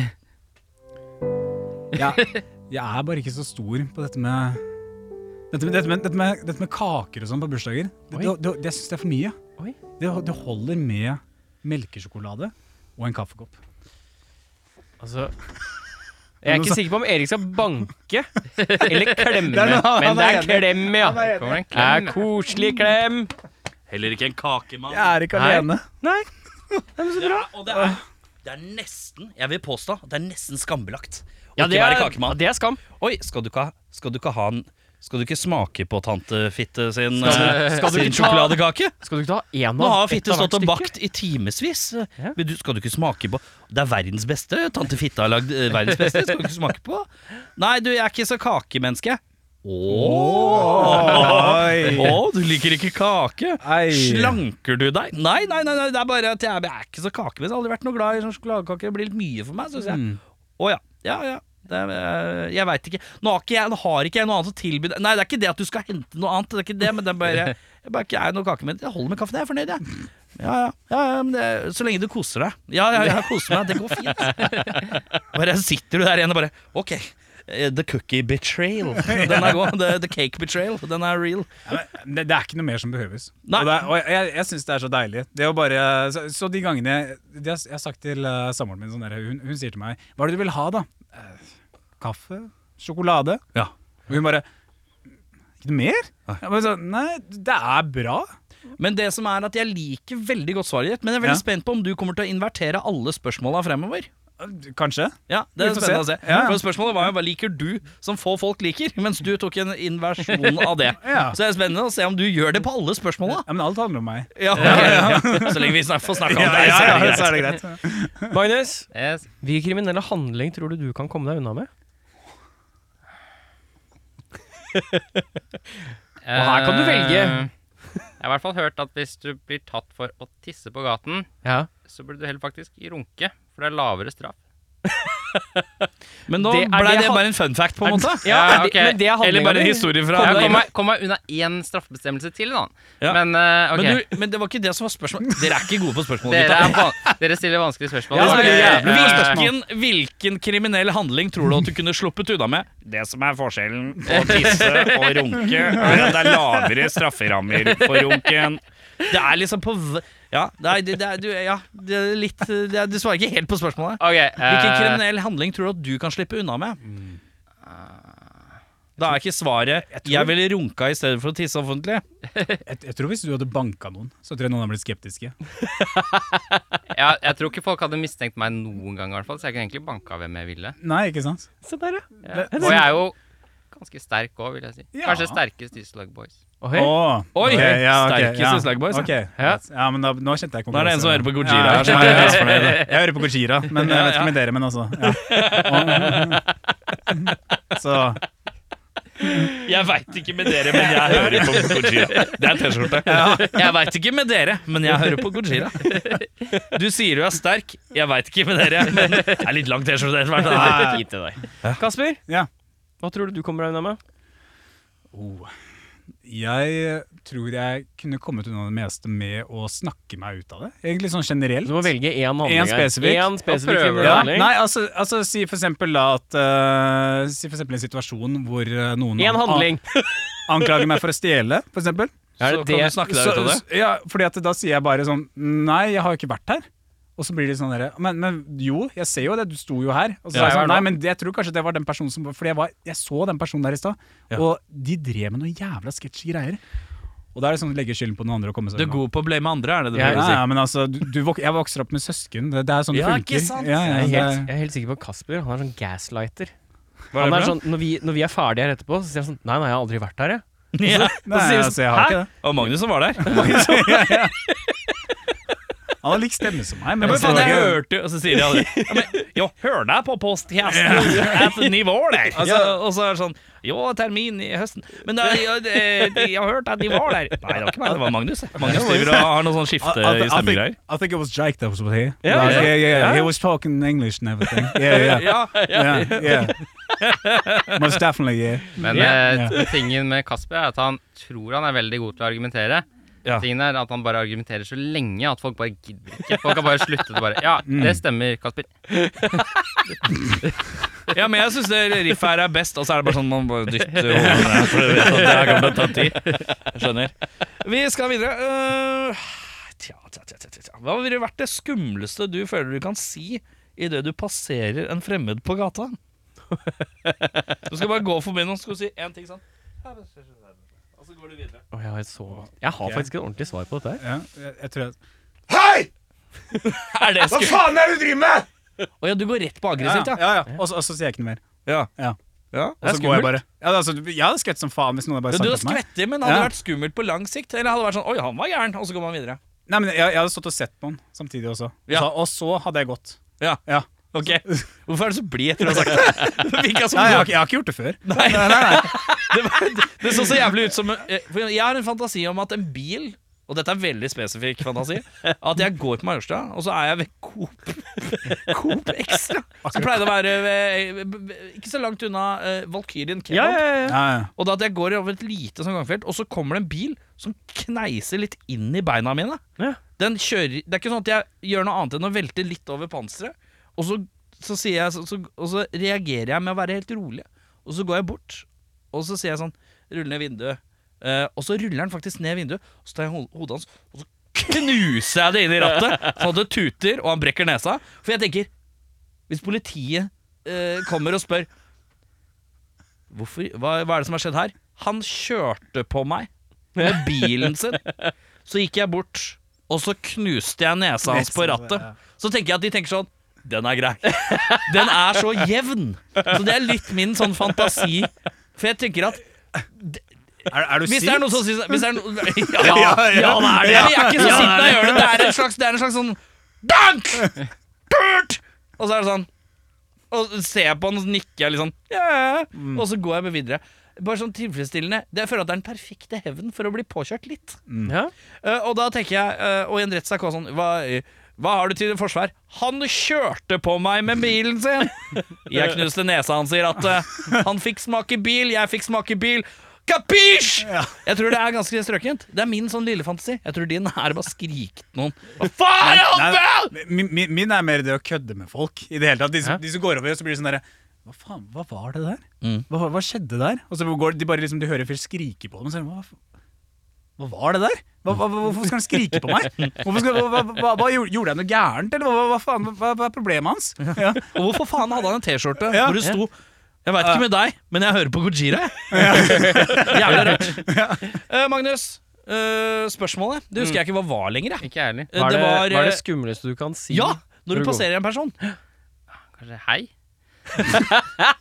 Speaker 3: jeg, jeg er bare ikke så stor på dette med Dette med, dette med, dette med, dette med kaker og sånn på bursdager. Det, det, det, det syns jeg er for mye.
Speaker 2: Oi.
Speaker 3: Det, det holder med melkesjokolade og en kaffekopp.
Speaker 2: du. Altså, jeg er ikke sikker på om Erik skal banke eller klemme,
Speaker 3: er noe annet,
Speaker 2: men det er
Speaker 3: han er
Speaker 2: klem, ja.
Speaker 4: Det kommer en
Speaker 2: Det er
Speaker 4: klem.
Speaker 2: koselig klem.
Speaker 1: Heller ikke en kake, mann.
Speaker 3: Jeg er ikke
Speaker 2: Nei.
Speaker 3: alene.
Speaker 2: Nei.
Speaker 1: Det er- Og det er, det er nesten, jeg vil påstå, at det er nesten skambelagt å ikke
Speaker 2: det
Speaker 1: være
Speaker 2: er,
Speaker 1: kakemann.
Speaker 2: det er skam.
Speaker 1: Oi, skal du ikke, ha- skal du ikke ha en Skal du ikke smake på tante Fitte sin,
Speaker 2: Skal du-
Speaker 1: eh,
Speaker 2: skal du
Speaker 1: sin
Speaker 2: ikke ta-
Speaker 1: sjokoladekake?
Speaker 2: Skal du ikke ta én av
Speaker 1: Nå har
Speaker 2: ett
Speaker 1: Fitte
Speaker 2: av hvert
Speaker 1: stått og
Speaker 2: stykke?
Speaker 1: bakt i timevis.
Speaker 2: Ja.
Speaker 1: Men du, skal du ikke smake på Det er verdens beste. Tante Fitte har lagd eh, verdens beste. Skal du ikke smake på? Nei, du, jeg er ikke så kakemenneske. Ååå.
Speaker 3: Oi.
Speaker 1: du liker ikke kake?
Speaker 3: Ei.
Speaker 1: Slanker du deg? Nei, nei, nei, nei det er bare at jeg, jeg er ikke så kakemenneske. Jeg har aldri vært noe glad i sånn sjokoladekake. Det blir litt mye for meg, syns jeg.
Speaker 3: Mm.
Speaker 1: Å ja. Ja, ja. Det er, eh, jeg veit ikke. Nå har ikke jeg, nå har ikke jeg noe annet å tilby deg. Nei, det er ikke det at du skal hente noe annet. Det er ikke det, men det er bare Jeg bare ikke er noe kake, men jeg holder med kaffen. Jeg er fornøyd, jeg. Ja, ja. ja, ja men det, så lenge du koser deg. Ja, ja, jeg koser meg. Det går fint. Bare sitter du der igjen og bare OK. eh, The cookie betrayal. Den er god. The, the cake betrayal. Den er real.
Speaker 3: Ja, men Det, det er ikke noe mer som behøves.
Speaker 1: Nei.
Speaker 3: Og, det er, og jeg, jeg, jeg syns det er så deilig. Det å bare, så, så de gangene jeg, det har jeg har sagt til eh, samboeren min sånn der, hun, hun sier til meg Hva er det du vil ha, da? «Eh, Kaffe? Sjokolade?
Speaker 1: Ja.
Speaker 3: Og hun bare Ikke noe mer? Jeg bare sånn, Nei, det er bra.
Speaker 1: Men det som er at jeg liker veldig godt svaret ditt, men jeg er
Speaker 3: Ja.
Speaker 1: veldig spent på om du kommer til å invertere alle spørsmåla fremover.
Speaker 3: Kanskje.
Speaker 1: Ja, det er
Speaker 3: Vi får
Speaker 1: spennende å
Speaker 3: se.
Speaker 1: se.
Speaker 3: Ja.
Speaker 1: For spørsmålet var jo hva liker du som få folk liker, mens du tok en inversjon av det.
Speaker 3: Ja.
Speaker 1: Så det er spennende å se om du gjør det på alle spørsmåla.
Speaker 3: Ja, men alt handler om meg.
Speaker 1: Ja, ok, ja. Så lenge vi snak- får snakka om det, så er det greit.
Speaker 3: er det greit.
Speaker 2: Magnus,
Speaker 4: Yes.
Speaker 2: hvilken kriminelle handling tror du du kan komme deg unna med? Og her kan du velge.
Speaker 4: Eh, Jeg har i hvert fall hørt at hvis du blir tatt for å tisse på gaten,
Speaker 2: Ja.
Speaker 4: så burde du heller faktisk runke, for det er lavere straff.
Speaker 1: Men nå
Speaker 2: Det er
Speaker 1: blei
Speaker 2: det
Speaker 1: det
Speaker 2: han-
Speaker 1: bare en fun fact, på en måte.
Speaker 4: Ja, ok.
Speaker 2: Men det er handlinga
Speaker 1: Eller bare en
Speaker 2: di.
Speaker 1: historie fra
Speaker 4: Jeg kom
Speaker 1: Men,
Speaker 4: meg, kom meg unna én straffebestemmelse til, da.
Speaker 1: Ja.
Speaker 4: Men eh, ok.
Speaker 1: du, men det var ikke det som var spørsmålet. Dere er ikke gode på spørsmål,
Speaker 4: dere,
Speaker 1: gutta.
Speaker 4: er van dere stiller vanskelige spørsmål.
Speaker 2: Ja, det er
Speaker 4: Dere-
Speaker 2: jævlig
Speaker 4: eh,
Speaker 1: Hvilken, hvilken kriminell handling tror du at du kunne sluppet unna med?
Speaker 5: Det som er forskjellen på å tisse og runke, er at det er lavere strafferammer for runken.
Speaker 1: Det er liksom på v... Ja, det er, det er, du, ja, det er litt det er, Du svarer ikke helt på spørsmålet.
Speaker 4: ok, eh,
Speaker 1: Hvilken kriminell handling tror du at du kan slippe unna med? Da er ikke svaret Mm. 'jeg ville runka i stedet for å tisse offentlig'.
Speaker 3: Jeg, jeg tror hvis du hadde banka noen, så tror jeg noen hadde blitt skeptiske.
Speaker 4: ja, jeg tror ikke folk hadde mistenkt meg noen gang, i hvert fall, så jeg kunne egentlig banka hvem jeg ville.
Speaker 3: Nei, ikke sant?
Speaker 2: Se der, ja.
Speaker 4: Ja. Og jeg er jo ganske sterk òg, vil jeg si.
Speaker 3: Ja.
Speaker 4: Kanskje sterkest i Slug Boys.
Speaker 2: Oi.
Speaker 3: Åh,
Speaker 1: Oi,
Speaker 3: ok, ok,
Speaker 1: sterkest i Slag Boys, ja.
Speaker 3: ok.
Speaker 2: Ja.
Speaker 3: ja, men da, nå kjente jeg konkurranse.
Speaker 1: Nå er det en som hører på Gojira
Speaker 3: Ja,
Speaker 1: her,
Speaker 3: jeg,
Speaker 1: som er
Speaker 3: jeg, hører på Gojira, men jeg vet ikke med dere, men altså. Ja. Og- Så
Speaker 1: Jeg veit ikke med dere, men jeg hører på Gojira. Det er T-skjorte. Jeg veit ikke med dere, men jeg hører på Gojira. Du sier du er sterk. Jeg veit ikke med dere, men det er litt lang T-skjorte etter hvert. da.
Speaker 2: Kasper,
Speaker 3: Ja.
Speaker 2: hva tror du du kommer deg unna med?
Speaker 1: Oh.
Speaker 3: jeg tror jeg kunne kommet unna det meste med å snakke meg ut av det. Egentlig sånn generelt.
Speaker 2: Du må velge én handling.
Speaker 3: Én
Speaker 2: her.
Speaker 3: spesifikk.
Speaker 2: Én spesifikk
Speaker 4: Da prøver
Speaker 2: kriminell
Speaker 4: du.
Speaker 3: Ja,
Speaker 2: handling.
Speaker 3: nei, altså, altså si for eksempel da at eh, Si for eksempel en situasjon hvor eh, noen
Speaker 2: Én
Speaker 3: an-
Speaker 2: handling.
Speaker 3: an- anklager meg for å stjele, for eksempel.
Speaker 1: Så
Speaker 2: Er det
Speaker 1: kan
Speaker 2: det?
Speaker 1: du snakke deg ut av det.
Speaker 3: Så- Ja, fordi at da sier jeg bare sånn Nei, jeg har jo ikke vært her. Og så blir det sånn derre men, men jo, jeg ser jo det, du sto jo her. Og så
Speaker 1: Ja,
Speaker 3: er
Speaker 1: jeg
Speaker 3: jeg
Speaker 1: var
Speaker 3: sånn, nei, men jeg tror kanskje det var den personen som Fordi jeg, var, jeg så den personen der i stad, og de drev med noen jævla sketsjy greier. Og da er det sånn å legge skylden på noen andre og komme seg
Speaker 1: Du er god på å blame andre, er det du
Speaker 2: Ja,
Speaker 1: prøver
Speaker 3: Ja,
Speaker 1: å si?
Speaker 3: ja, men altså, du, du vok jeg vokser opp med søsken. Det, det er sånn det
Speaker 1: Ja,
Speaker 3: funker.
Speaker 1: ikke sant?
Speaker 3: Ja, ja,
Speaker 2: Jeg er, helt,
Speaker 3: det,
Speaker 2: jeg er helt sikker på at Kasper han er sånn gaslighter.
Speaker 1: er
Speaker 2: Han
Speaker 1: det
Speaker 2: er
Speaker 1: for
Speaker 2: sånn, når, vi, når vi er ferdige her etterpå, så sier han sånn Nei, nei, jeg har aldri vært her, jeg.
Speaker 1: Ja.
Speaker 3: nei,
Speaker 2: sier du
Speaker 3: altså, jeg har
Speaker 2: sånn,
Speaker 3: ikke det.
Speaker 1: Og Magnus som var der.
Speaker 3: Han har lik stemme som meg. Men sånn-
Speaker 1: Men faen, jeg
Speaker 3: jeg
Speaker 1: hørte jo Og så sier de alle ja, men, Jo, hør deg på postkasten Et nivå der altså, Og så er det sånn Jo, termin i høsten Men da, ja, det, det, jeg har hørt at de var der Nei, det var ikke meg, det var Magnus Magnus driver og har noen sånn skifte
Speaker 3: I,
Speaker 1: i
Speaker 3: I, think,
Speaker 1: stemmegreier
Speaker 3: I think it was Jake that was with here.
Speaker 1: Yeah,
Speaker 3: Like,
Speaker 1: yeah.
Speaker 3: yeah, yeah, He was talking English and everything. Yeah, yeah, yeah,
Speaker 1: ja, ja.
Speaker 3: yeah. Most definitely, yeah.
Speaker 4: Men
Speaker 3: Ja.
Speaker 4: eh, tingen med Kasper er at han tror han er veldig god til å argumentere.
Speaker 1: Ja.
Speaker 4: Tingen er at han bare argumenterer så lenge at folk bare gidder ikke. Folk har bare sluttet å bare Ja,
Speaker 1: Mm.
Speaker 4: det stemmer, Kasper.
Speaker 1: ja, men jeg synes det riffet her er best Og så er det bare sånn Man bare dytter hodet ned, For du vet at det her kan bare ta tid Jeg Skjønner Vi skal videre Øh, tja, tja, tja, tja, tja. Hva ville vært det skummeleste du føler du kan si I det du passerer en fremmed på gata? Du skal bare gå forbi noen Skal du si en ting sånn Og så går du videre
Speaker 2: Å, jeg, har et så... jeg har faktisk et ordentlig svar på dette her.
Speaker 3: Ja, jeg, jeg tror jeg
Speaker 1: Er det skummelt?
Speaker 3: faen er det du driver med?!
Speaker 1: Åja, du går rett på
Speaker 3: Ja,
Speaker 1: aggressivt,
Speaker 3: ja.
Speaker 1: ja
Speaker 3: ja, ja. Og, så, og så sier jeg ikke noe mer.
Speaker 1: Ja,
Speaker 3: Ja.
Speaker 1: ja.
Speaker 3: Og så går jeg bare. Ja, altså, jeg hadde skvett som faen hvis noen hadde bare
Speaker 1: Du
Speaker 3: sagt
Speaker 1: hadde
Speaker 3: det til meg.
Speaker 1: skvettet, men hadde det
Speaker 3: Ja.
Speaker 1: vært skummelt på lang sikt Eller hadde det vært sånn, oi han var gæren Og så går man videre
Speaker 3: Nei, men jeg, jeg hadde stått og sett på den samtidig også.
Speaker 1: Ja.
Speaker 3: Og, så, og så hadde jeg gått.
Speaker 1: Ja.
Speaker 3: ja.
Speaker 1: Ok, hvorfor er du så blid etter å ha sagt det? Virka som
Speaker 3: Nei, jeg,
Speaker 1: du
Speaker 3: har, ikke- jeg har ikke gjort det før.
Speaker 1: Nei, Det, var- det så så jævlig ut som eh, for Jeg har en fantasi om at en bil Og dette er veldig spesifikk fantasi At jeg går på Majorstua, og så er jeg ved Coop Coop Extra Som pleide å være ved, ikke så langt unna eh, Valkyrien Kebab
Speaker 3: Ja, ja.
Speaker 1: Og da at jeg går over et lite sånn gangfelt Og så kommer det en bil som kneiser litt inn i beina mine
Speaker 2: Ja.
Speaker 1: Den kjører, det er ikke sånn at jeg gjør noe annet enn å velte litt over panseret Og så, så, sier jeg, så, så, og så reagerer jeg med å være helt rolig Og så går jeg bort Og så sier jeg sånn, rull ned vinduet Eh, Og så ruller han faktisk ned vinduet Og så tar jeg ho hodet hans Og så knuser jeg det inn i rattet Sånn at det tuter og han brekker nesa For jeg tenker, hvis politiet eh, kommer og spør Hvorfor, hva, hva er det som har skjedd her? Han kjørte på meg med bilen sin. Så gikk jeg bort, og så knuste jeg nesa hans på rattet. Så tenker jeg at de tenker sånn Den er grei. Den er så jevn. Så det er litt min sånn fantasi. For jeg tenker at
Speaker 3: Er, er du
Speaker 1: hvis det er noen som syns Hvis det er noen Ja,
Speaker 3: Ja,
Speaker 1: ja,
Speaker 3: ja.
Speaker 1: det er det. Jeg er ikke så sint når jeg gjør det. Det er en slags, det er en slags sånn Dank! Burt! Og så er det sånn Og så ser jeg på han, og så nikker jeg litt sånn «Ja», Og så går jeg med videre. Bare sånn tilfredsstillende. Det, jeg føler at det er den perfekte hevn for å bli påkjørt litt.
Speaker 2: Ja.
Speaker 1: Eh, og da tenker jeg, eh, og i en rettssak også sånn hva, hva har du til forsvar? Han kjørte på meg med bilen sin! Jeg knuste nesa hans i rattet. eh, Han fikk smake bil, jeg fikk smake bil. Kapisj! Jeg tror det er ganske strøkent. Det er min sånn lille fantasi. Jeg tror din er bare skrikt noen. Hva faen er det han med?!
Speaker 3: Nei, min, min- min er mer det å kødde med folk. I det hele tatt De som, de som går over, så blir det sånn derre Hva faen, hva var det der? Hva, hva skjedde der? Og så går de bare liksom De hører fyr skrike på dem. Og så er det, hva, f- hva var det der? Hva, hva, hva- hvorfor skal han skrike på meg? Hvorfor skal, hva, hva, hva, hva, gjorde- Gjorde jeg noe gærent, eller hva, hva, hva faen? Hva, hva er problemet hans? Ja.
Speaker 1: Og hvorfor faen hadde han en T-skjorte
Speaker 3: Ja.
Speaker 1: hvor det sto Jeg veit ikke med deg, men jeg hører på Gojira, jeg. Jævlig rart. Eh, Magnus, eh, spørsmålet Det husker jeg ikke hva var lenger, jeg.
Speaker 4: Ikke jeg heller.
Speaker 1: Eh,
Speaker 2: Hva er det,
Speaker 1: var,
Speaker 2: hva er det
Speaker 1: eh,
Speaker 2: skumleste du kan si?
Speaker 1: Ja, når du
Speaker 2: går-
Speaker 1: passerer en person.
Speaker 4: Kanskje hei?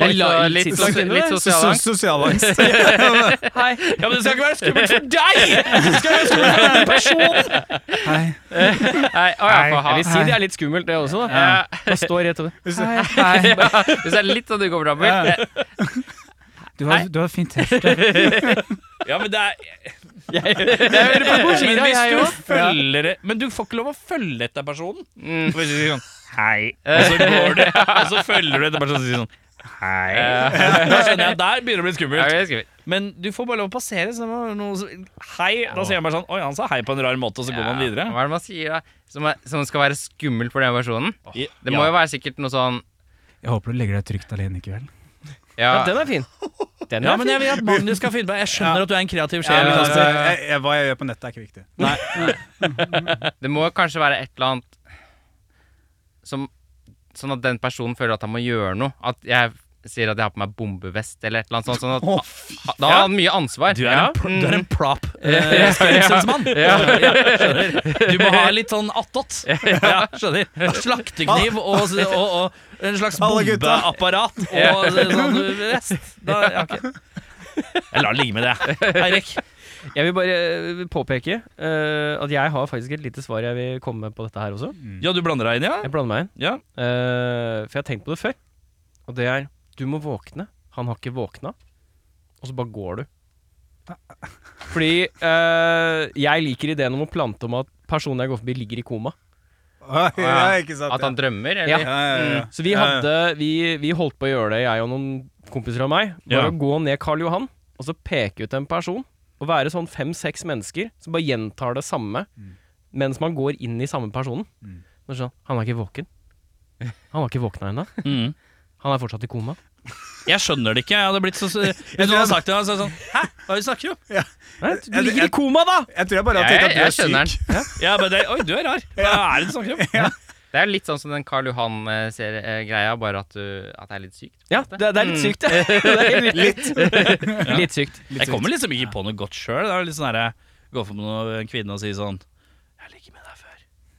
Speaker 2: Litt-
Speaker 4: Litt, så- litt,
Speaker 2: litt-
Speaker 4: sos- litt sosial
Speaker 3: Sos-
Speaker 4: angst.
Speaker 3: Sosial angst.
Speaker 2: Hei.
Speaker 1: Ja, men det skal ikke være skummelt for deg! Det skal være skummelt for en person!
Speaker 3: Hei.
Speaker 4: Hei, å, ja, for
Speaker 2: Jeg
Speaker 4: ha.
Speaker 2: vil si det er litt skummelt, det også. da
Speaker 4: Ja.
Speaker 2: Bare stå rett over.
Speaker 3: Hvis-
Speaker 2: Hei.
Speaker 4: Hvis det er litt sånn du går framover
Speaker 3: Ja.
Speaker 4: ja.
Speaker 3: Du har, du har fint T-skjorte.
Speaker 1: Ja, men det er
Speaker 2: Jeg hører på Gojira,
Speaker 1: Men
Speaker 2: jeg
Speaker 1: hvis
Speaker 2: også.
Speaker 1: du følger det Men du får ikke lov å følge etter personen.
Speaker 4: mm,
Speaker 1: For hvis du sier sånn Hei. Og så går du, og så følger du etter personen og sier sånn
Speaker 4: eh,
Speaker 1: Da skjønner jeg, Der begynner det å bli
Speaker 4: ja,
Speaker 1: skummelt.
Speaker 4: det er skummelt.
Speaker 1: Men du får bare lov å passere. Så det var noe som- hei. Da sier jeg bare sånn Oi, han sa hei på en rar måte, og så går man
Speaker 4: Ja,
Speaker 1: videre.
Speaker 4: Hva er det man sier da? Som, er, som skal være skummelt for den personen? Det må jo være sikkert noe sånn
Speaker 3: Jeg håper du legger deg trygt alene i kveld.
Speaker 2: Ja,
Speaker 4: Ja,
Speaker 2: den er fin. Den
Speaker 1: Ja,
Speaker 2: er
Speaker 1: men
Speaker 2: fin.
Speaker 1: jeg vil at Magnus skal finne på Jeg skjønner at du er en kreativ sjel.
Speaker 4: Ja,
Speaker 1: Kasper.
Speaker 3: Altså, jeg, jeg, hva jeg gjør på nettet, er ikke viktig.
Speaker 4: Det må kanskje være et eller annet som, Sånn at den personen føler at han må gjøre noe. At jeg sier at jeg har på meg bombevest, eller et eller annet sånt. Sånn at,
Speaker 3: Å,
Speaker 4: ha- da har han mye ansvar.
Speaker 1: Du er,
Speaker 4: ja.
Speaker 1: en,
Speaker 4: Mm.
Speaker 1: pro du er en prop eh, skremselsmann. Mm. Ja, skjønner. Du må ha litt sånn attåt. Ja, skjønner. Slaktekniv og, s- og, og en slags
Speaker 3: Alle gutta.
Speaker 1: bombeapparat og sånn rest. Da, ja, ok. Jeg lar det ligge med det, Eirik.
Speaker 2: Jeg vil bare eh, påpeke eh, at jeg har faktisk et lite svar jeg vil komme med på dette her også.
Speaker 1: Ja, du blander deg inn, ja?
Speaker 2: Jeg blander meg inn.
Speaker 1: Ja,
Speaker 2: Eh, for jeg har tenkt på det før. Og det er Du må våkne. Han har ikke våkna. Og så bare går du. Fordi eh, jeg liker ideen om å plante om at personen jeg går forbi, ligger i koma.
Speaker 3: Oi, ja, ikke sant?
Speaker 4: At han drømmer,
Speaker 2: Ja.
Speaker 4: eller?
Speaker 3: ja, ja, ja, ja.
Speaker 2: Mm. Så vi,
Speaker 3: Ja, ja.
Speaker 2: hadde, vi, vi holdt på å gjøre det, jeg og noen kompiser av meg. Bare
Speaker 1: Ja.
Speaker 2: å gå ned Karl Johan og så peke ut en person. Og være sånn fem-seks mennesker som bare gjentar det samme mens man går inn i samme personen.
Speaker 3: Mm.
Speaker 2: Og Sånn, han er ikke våken. Han har ikke våkna ennå.
Speaker 1: mm.
Speaker 2: Han er fortsatt i koma.
Speaker 1: Jeg skjønner det ikke. Jeg hadde blitt så Hvis noen hadde sagt det, så hadde jeg sånn Hæ, hva er det du snakker om?
Speaker 2: Nei, du
Speaker 3: Jeg-
Speaker 2: ligger
Speaker 3: jeg-
Speaker 2: i koma, da!
Speaker 3: Jeg tror jeg bare har
Speaker 4: Jeg,
Speaker 3: tenkt
Speaker 4: jeg,
Speaker 3: at du er
Speaker 4: skjønner
Speaker 3: syk.
Speaker 4: den.
Speaker 1: Ja, men det, Oi, du er rar. Hva er det du snakker om?
Speaker 4: Det er litt sånn som den Karl Johan-greia, eh, bare at, du, at det er litt sykt.
Speaker 2: Ja, Mm. det, det er litt sykt, det. det er litt, litt. litt sykt.
Speaker 1: Jeg kommer liksom ikke på noe godt sjøl. Det er litt sånn herre Gå for noe, en kvinne og si sånn Jeg ligger med deg før.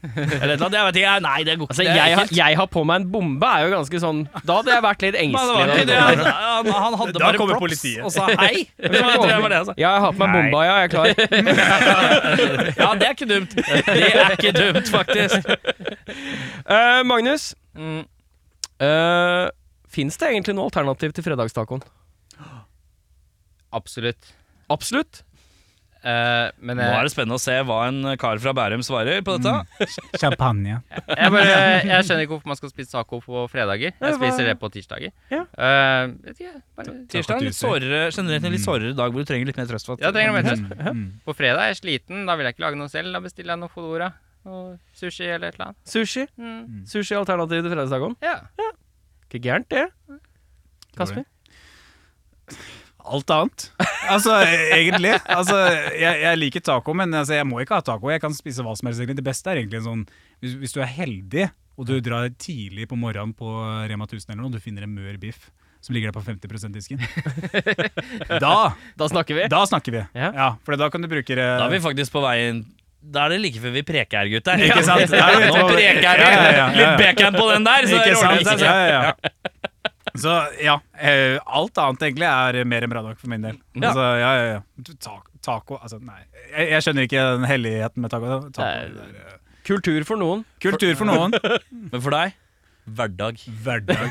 Speaker 1: Eller et eller annet. Jeg vet ikke. jeg- Nei, det går ikke.
Speaker 2: Altså,
Speaker 1: det er
Speaker 2: jeg, har-
Speaker 1: ekkelt.
Speaker 2: jeg har på meg en bombe, er jo ganske sånn Da hadde jeg vært litt
Speaker 1: Men det var
Speaker 2: engstelig.
Speaker 1: ikke det. Han,
Speaker 2: da.
Speaker 1: han, han hadde
Speaker 5: Da
Speaker 1: bare
Speaker 5: kommer
Speaker 1: props
Speaker 5: politiet.
Speaker 1: og sa hei. Det var, det var det altså. jeg sa.
Speaker 2: Ja, jeg har på meg
Speaker 5: Nei.
Speaker 2: bomba, ja, jeg er klar.
Speaker 1: Ja, det er ikke dumt. Det er ikke dumt, faktisk.
Speaker 2: Eh, Magnus,
Speaker 4: Mm.
Speaker 2: uh, fins det egentlig noe alternativ til fredagstacoen?
Speaker 4: Absolutt.
Speaker 2: Absolutt.
Speaker 4: Eh, men
Speaker 1: Nå er
Speaker 4: jeg,
Speaker 1: det spennende å se hva en kar fra Bærum svarer på dette.
Speaker 3: Champagne.
Speaker 4: eh, jeg, bare, jeg skjønner ikke hvorfor man skal spise taco på fredager.
Speaker 2: Nei,
Speaker 4: Jeg
Speaker 2: hva-
Speaker 4: spiser det på tirsdager.
Speaker 2: Ja.
Speaker 4: Eh, vet ikke, bare,
Speaker 1: Tirsdag er en litt sårere, generelt en litt sårere dag hvor du trenger litt mer trøst.
Speaker 4: Ja, jeg trenger noe mer trøst.
Speaker 3: Mm.
Speaker 4: På fredag er jeg sliten, da vil jeg ikke lage noe selv. Da bestiller jeg noe Fodora. Og sushi eller et eller annet.
Speaker 2: Sushi.
Speaker 4: Mm.
Speaker 2: Sushi er alternativ til fredagstacoen.
Speaker 4: Ja.
Speaker 2: Ikke gærent, det. Kasper?
Speaker 3: Alt annet. Altså, egentlig. Altså, jeg, jeg liker taco, men altså, jeg må ikke ha taco. Jeg kan spise hva som helst. egentlig. Det beste er egentlig en sånn Hvis, hvis du er heldig, og du drar tidlig på morgenen på Rema 1000 eller noe, og du finner en mør biff som ligger der på 50 disken, da,
Speaker 2: Da snakker vi.
Speaker 3: da snakker vi.
Speaker 2: Ja.
Speaker 3: Ja, for da kan du bruke eh, det
Speaker 1: Da er vi faktisk på veien Da er det like før vi preker her, gutter.
Speaker 3: Ikke sant?
Speaker 1: Ja, Nå preker vi.
Speaker 3: Ja, ja, ja, ja, ja.
Speaker 1: Litt bacon på den der, så det
Speaker 3: Ikke
Speaker 1: ordner
Speaker 3: sant?
Speaker 1: seg.
Speaker 3: Ja,
Speaker 1: selv.
Speaker 3: ja, ja. Så ja, eh, alt annet egentlig er mer enn bra nok for min del.
Speaker 1: Ja.
Speaker 3: Altså, ja, ja, ja. Ta taco altså, Nei, jeg, jeg skjønner ikke den helligheten med taco. taco det er, eh,
Speaker 2: Kultur for noen.
Speaker 3: Kultur for noen,
Speaker 1: Men for deg hverdag.
Speaker 3: hverdag.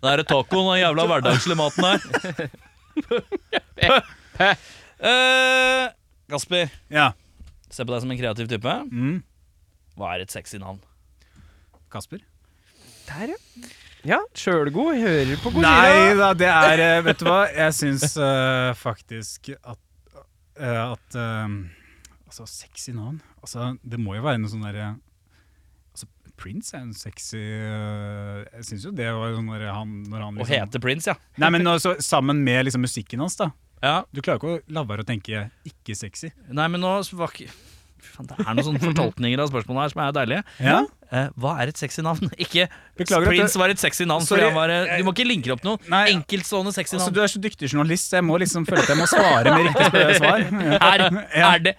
Speaker 1: Da er det tacoen og den jævla hverdagslige maten her. Eh, Kasper,
Speaker 3: Ja.
Speaker 1: se på deg som en kreativ type.
Speaker 3: Mm.
Speaker 1: Hva er et sexy navn?
Speaker 3: Kasper?
Speaker 2: Der, ja. Ja, sjølgod. Hører på
Speaker 3: Nei
Speaker 2: Gojira.
Speaker 3: da, det er eh, Vet du hva, jeg syns eh, faktisk at eh, At eh, Altså, sexy navn Altså, det må jo være noe sånn derre Altså, Prince er en sexy eh, Jeg syns jo det var sånn når han, når han
Speaker 1: Å
Speaker 3: liksom-
Speaker 1: hete Prince, ja.
Speaker 3: Nei, men også, sammen med liksom musikken hans, da.
Speaker 1: ja.
Speaker 3: Du klarer ikke å la være å tenke ikke sexy.
Speaker 1: Nei, men nå var ikke Fy faen, Det er noen sånne fortolkninger av spørsmålet her som er deilige.
Speaker 3: Ja?
Speaker 1: Eh, hva er et sexy navn? Ikke
Speaker 3: Beklager at
Speaker 1: Prince var et sexy navn.
Speaker 3: Sorry,
Speaker 1: Fordi han var, eh, du må ikke linke opp noe.
Speaker 3: Nei.
Speaker 1: Enkeltstående sexy
Speaker 3: Altså,
Speaker 1: navn.
Speaker 3: du er så dyktig journalist, så jeg må liksom føle at jeg må svare med riktig sp- svar. Ja.
Speaker 1: Er,
Speaker 3: Ja.
Speaker 1: er det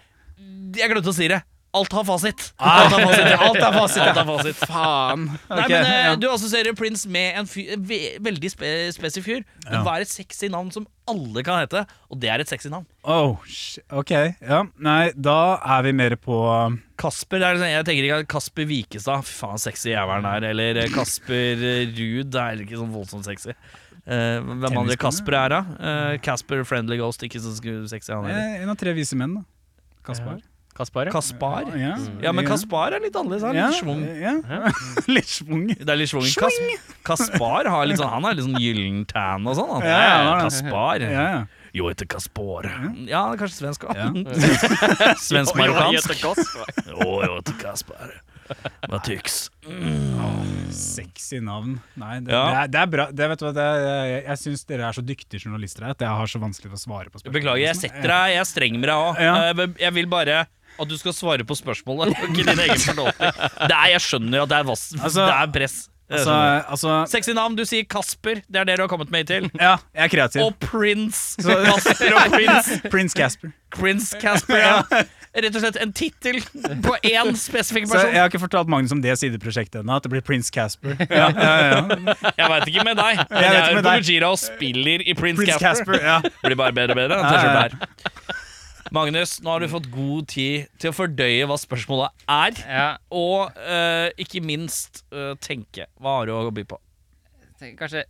Speaker 1: Jeg glemte å si det. Alt har fasit. Alt har fasit. ja.
Speaker 3: Ah. Alt er fasit.
Speaker 1: Alt har fasit.
Speaker 3: Faen.
Speaker 1: Nei,
Speaker 3: Ok,
Speaker 1: men eh,
Speaker 3: ja.
Speaker 1: Du assosierer Prince med en fyr, en ve veldig spe spesifikk fyr. Men
Speaker 3: Ja.
Speaker 1: hva er et sexy navn som alle kan hete? Og det er et sexy navn.
Speaker 3: Oh, shit. ok. Ja. Nei, da er vi mer på eh,
Speaker 1: Kasper, det er, liksom- Jeg tenker ikke at Kasper Vikestad, fy faen sexy jævelen her. Eller eh, Kasper eh, Ruud, det er heller ikke sånn voldsomt sexy. Eh, hvem andre
Speaker 3: Tennisspiller?
Speaker 1: Kasper er, da? Eh, Kasper Friendly Ghost, ikke så sku- sexy han heller.
Speaker 3: eh, en av tre vise menn, da. Kaspar.
Speaker 2: Kaspar, ja.
Speaker 1: Kaspar?
Speaker 3: Ja,
Speaker 1: Ja, men Kaspar er litt annerledes. Han er litt schwung.
Speaker 3: Ja. litt schwung.
Speaker 1: Det er litt schwung. Kas Kaspar har litt sånn, han er litt sånn gyllen tan og sånn. Han.
Speaker 3: Ja, ja, han har det.
Speaker 1: Kaspar.
Speaker 3: Ja, ja.
Speaker 1: Jo, heter Kaspar. Ja, kanskje svensk òg.
Speaker 3: Ja.
Speaker 1: Svensk-marokkansk. Jo, jo, heter Kaspar. Hva tyks?
Speaker 3: Sexy navn. Nei, det,
Speaker 1: Ja.
Speaker 3: det, er, det er bra. Det, vet du, hva, det er, jeg jeg syns dere er så dyktige journalister her at jeg har så vanskelig for å svare på spørsmål.
Speaker 1: Beklager, jeg setter deg. Jeg er streng med deg òg.
Speaker 3: Ja.
Speaker 1: Jeg vil bare at du skal svare på spørsmålet. Ikke din egen fortolkning. Det er, Jeg skjønner at det er, vass,
Speaker 3: Altså,
Speaker 1: det er press. Jeg
Speaker 3: Altså,
Speaker 1: skjønner.
Speaker 3: altså
Speaker 1: Sexy navn. Du sier Kasper. Det er det du har kommet med til.
Speaker 3: Ja, jeg er kreativ.
Speaker 1: Og Prince.
Speaker 3: Så-
Speaker 1: Kasper og Prince.
Speaker 3: Prince Casper.
Speaker 1: Prince Casper. Ja. Rett og slett en tittel på én spesifikk
Speaker 3: Så jeg
Speaker 1: person.
Speaker 3: har ikke fortalt Magnus om det sideprosjektet ennå, at det blir Prince Casper. Ja, ja, ja.
Speaker 1: Jeg veit ikke med deg. Men
Speaker 3: vet
Speaker 1: jeg
Speaker 3: ikke
Speaker 1: er
Speaker 3: med
Speaker 1: på
Speaker 3: deg.
Speaker 1: Gojira og spiller i Prince,
Speaker 3: Prince
Speaker 1: Casper.
Speaker 3: Casper, ja.
Speaker 1: Blir bare bedre og bedre. Den
Speaker 3: Ja, ja, ja.
Speaker 1: T-skjorta her. Magnus, nå har du fått god tid til å fordøye hva spørsmålet er.
Speaker 4: Ja,
Speaker 1: Og eh, ikke minst eh, tenke. Hva har du å by på?
Speaker 4: jeg tenker kanskje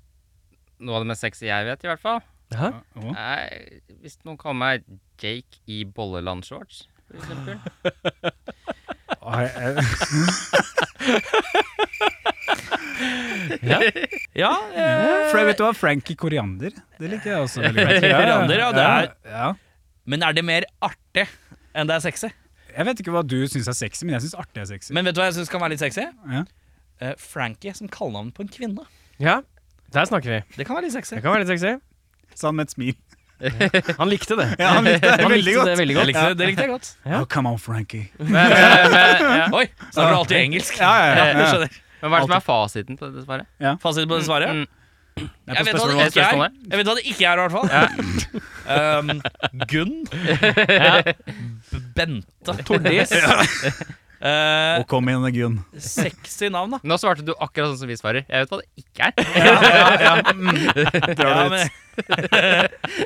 Speaker 4: noe av det mest sexy jeg vet, i hvert fall.
Speaker 2: Hæ?
Speaker 3: Å,
Speaker 4: Nei, hvis noen kaller meg Jake i Bolleland-shorts, for eksempel.
Speaker 3: å, jeg-
Speaker 1: Ja, eh,
Speaker 3: For jeg vet du hva, Frankie Koriander. Det liker jeg også veldig godt.
Speaker 1: Koriander, ja, det er-
Speaker 3: ja.
Speaker 1: Men er det mer artig enn det er sexy?
Speaker 3: Jeg vet ikke hva du syns er sexy, men jeg syns artig er sexy.
Speaker 1: Men vet du hva jeg syns kan være litt sexy?
Speaker 3: Ja.
Speaker 1: Eh, Frankie som kallenavn på en kvinne.
Speaker 2: Ja, der snakker vi.
Speaker 1: Det kan være litt sexy.
Speaker 2: Det kan være litt sexy.
Speaker 3: Sa han med et smil.
Speaker 2: Han likte det.
Speaker 3: Ja, han likte det veldig godt.
Speaker 2: det veldig
Speaker 1: Jeg
Speaker 2: godt.
Speaker 1: likte det, det likte jeg godt.
Speaker 2: Ja.
Speaker 3: Oh, come on, Frankie.
Speaker 4: Men, men, men, ja.
Speaker 1: Oi, snakker du alltid engelsk?
Speaker 3: Ah, Ja, ja,
Speaker 1: Eh,
Speaker 3: ja.
Speaker 1: du skjønner.
Speaker 4: men hva er det som er fasiten på dette svaret?
Speaker 1: Fasit på det svaret?
Speaker 4: Mm.
Speaker 3: Jeg
Speaker 1: Jeg
Speaker 3: er
Speaker 1: vet,
Speaker 3: på
Speaker 1: hva
Speaker 3: spørsmål.
Speaker 1: det ikke
Speaker 4: spørsmålet.
Speaker 1: er. jeg vet hva det ikke er, i hvert fall. um, Gunn. B- Bente. Tordis. Eh,
Speaker 3: Og kom igjen, Gunn.
Speaker 1: sexy navn, da.
Speaker 4: Nå svarte du akkurat sånn som vi svarer. Jeg vet hva det ikke er.
Speaker 1: Ja, men,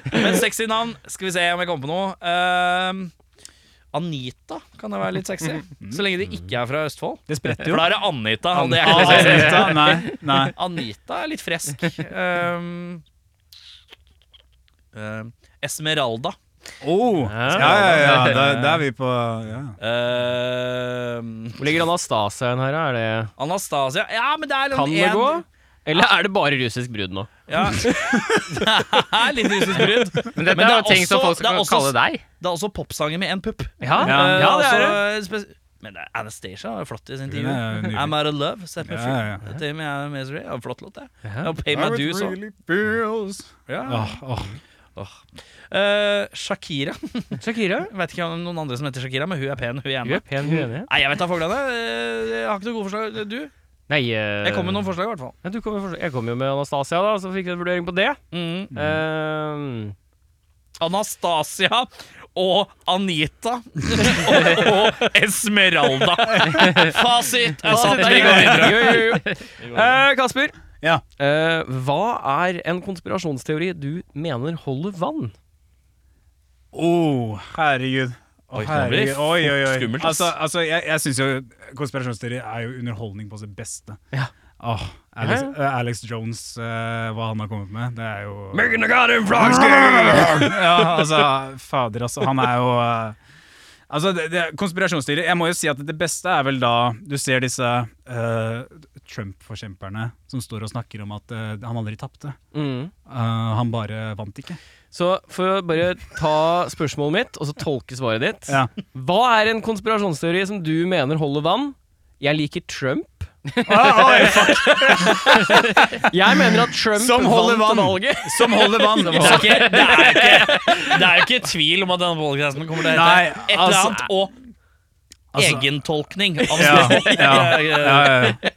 Speaker 1: men sexy navn. Skal vi se om jeg kommer på noe. Ehm, Anita kan det være litt sexy. Så lenge de ikke er fra Østfold.
Speaker 3: Det spretter
Speaker 1: For
Speaker 3: jo.
Speaker 1: da er det Anita. og Ah, det er ikke noe sexy.
Speaker 3: Anita, nei, nei.
Speaker 1: Anita er litt fresk. Ehm, ehm, Esmeralda.
Speaker 3: Oh. Ja, ja, ja. Da, da er vi på ja.
Speaker 1: Ehm,
Speaker 2: Hvor ligger Anastasia her? da? Er det,
Speaker 1: Anastasia Ja, men det er litt
Speaker 2: kan det
Speaker 1: en-
Speaker 2: gå? Eller er det bare russisk brudd nå?
Speaker 1: Ja. Det er litt russisk brudd.
Speaker 4: Men dette
Speaker 1: Men det
Speaker 4: er
Speaker 1: er
Speaker 4: jo ting som
Speaker 1: også-
Speaker 4: folk
Speaker 1: det er
Speaker 4: skal
Speaker 1: også-
Speaker 4: kalle deg.
Speaker 1: Det er også popsanger med en pupp.
Speaker 2: Ja, Ah, ja,
Speaker 1: Eh,
Speaker 2: det er det.
Speaker 1: altså, spes- Men det er Anastacia var jo flott i sin tid.
Speaker 3: Hun er nydelig.
Speaker 1: I'm Out of Love. Set me
Speaker 3: Ja,
Speaker 1: free.
Speaker 3: ja, ja.
Speaker 1: Dette med I'm Misery. Ja, flott låt, det.
Speaker 2: Ja. Ah.
Speaker 1: Og Pay My Dues òg.
Speaker 3: Åh, åh.
Speaker 1: Eh, Shakira.
Speaker 2: Shakira.
Speaker 1: Jeg vet ikke om noen andre som heter Shakira, men hun er pen. Hun er
Speaker 2: Du
Speaker 1: hjemme.
Speaker 2: er pen, du er enig.
Speaker 1: Nei, jeg vet da fuglene. Eh, Jeg har ikke noe gode forslag. Du?
Speaker 2: Nei,
Speaker 1: Jeg kom med noen forslag, i hvert fall.
Speaker 2: Ja, du kom med forslag. Jeg kom jo med Anastasia, da, så fikk vi en vurdering på det.
Speaker 1: Mm.
Speaker 2: Eh,
Speaker 1: Anastasia og Anita og, og Esmeralda. Fasit er satt. Vi går videre.
Speaker 2: Jo, jo, jo. Eh, Kasper,
Speaker 3: Ja.
Speaker 2: Eh, hva er en konspirasjonsteori du mener holder vann?
Speaker 3: Oh, herregud. Å,
Speaker 1: Oi, nå blir det
Speaker 3: herregud. Oi, oi, oi.
Speaker 1: skummelt, ass.
Speaker 3: Altså, altså, jeg, jeg syns jo konspirasjonsteori er jo underholdning på sitt beste.
Speaker 2: Ja.
Speaker 3: Åh, Alex,
Speaker 2: Ja,
Speaker 3: eh, Alex Jones, eh, hva han har kommet med, det er jo
Speaker 2: Megan Garden Frogs!
Speaker 3: ja, altså, fader, altså. Han er jo eh, Altså, det, det, konspirasjonsstyret Jeg må jo si at det beste er vel da du ser disse eh, Trump-forkjemperne som står og snakker om at eh, han aldri tapte.
Speaker 2: Mm.
Speaker 3: Eh, han bare vant ikke.
Speaker 2: Så for å bare ta spørsmålet mitt, og så tolke svaret ditt.
Speaker 3: Ja.
Speaker 2: Hva er en konspirasjonsteori som du mener holder vann? Jeg liker Trump. ah, Jeg mener at Trump
Speaker 3: Som holder
Speaker 2: vant
Speaker 3: vann.
Speaker 2: valget.
Speaker 3: Som holder vann!
Speaker 1: Det er, ikke, det, er ikke, det er jo ikke tvil om at denne podcasten kommer til å hete
Speaker 3: Nei,
Speaker 1: et eller
Speaker 3: altså-
Speaker 1: annet og
Speaker 3: Altså-
Speaker 1: egentolkning. Altså, Av
Speaker 3: Ja,
Speaker 1: spørsmål.
Speaker 3: ja, ja, ja,
Speaker 1: Ja.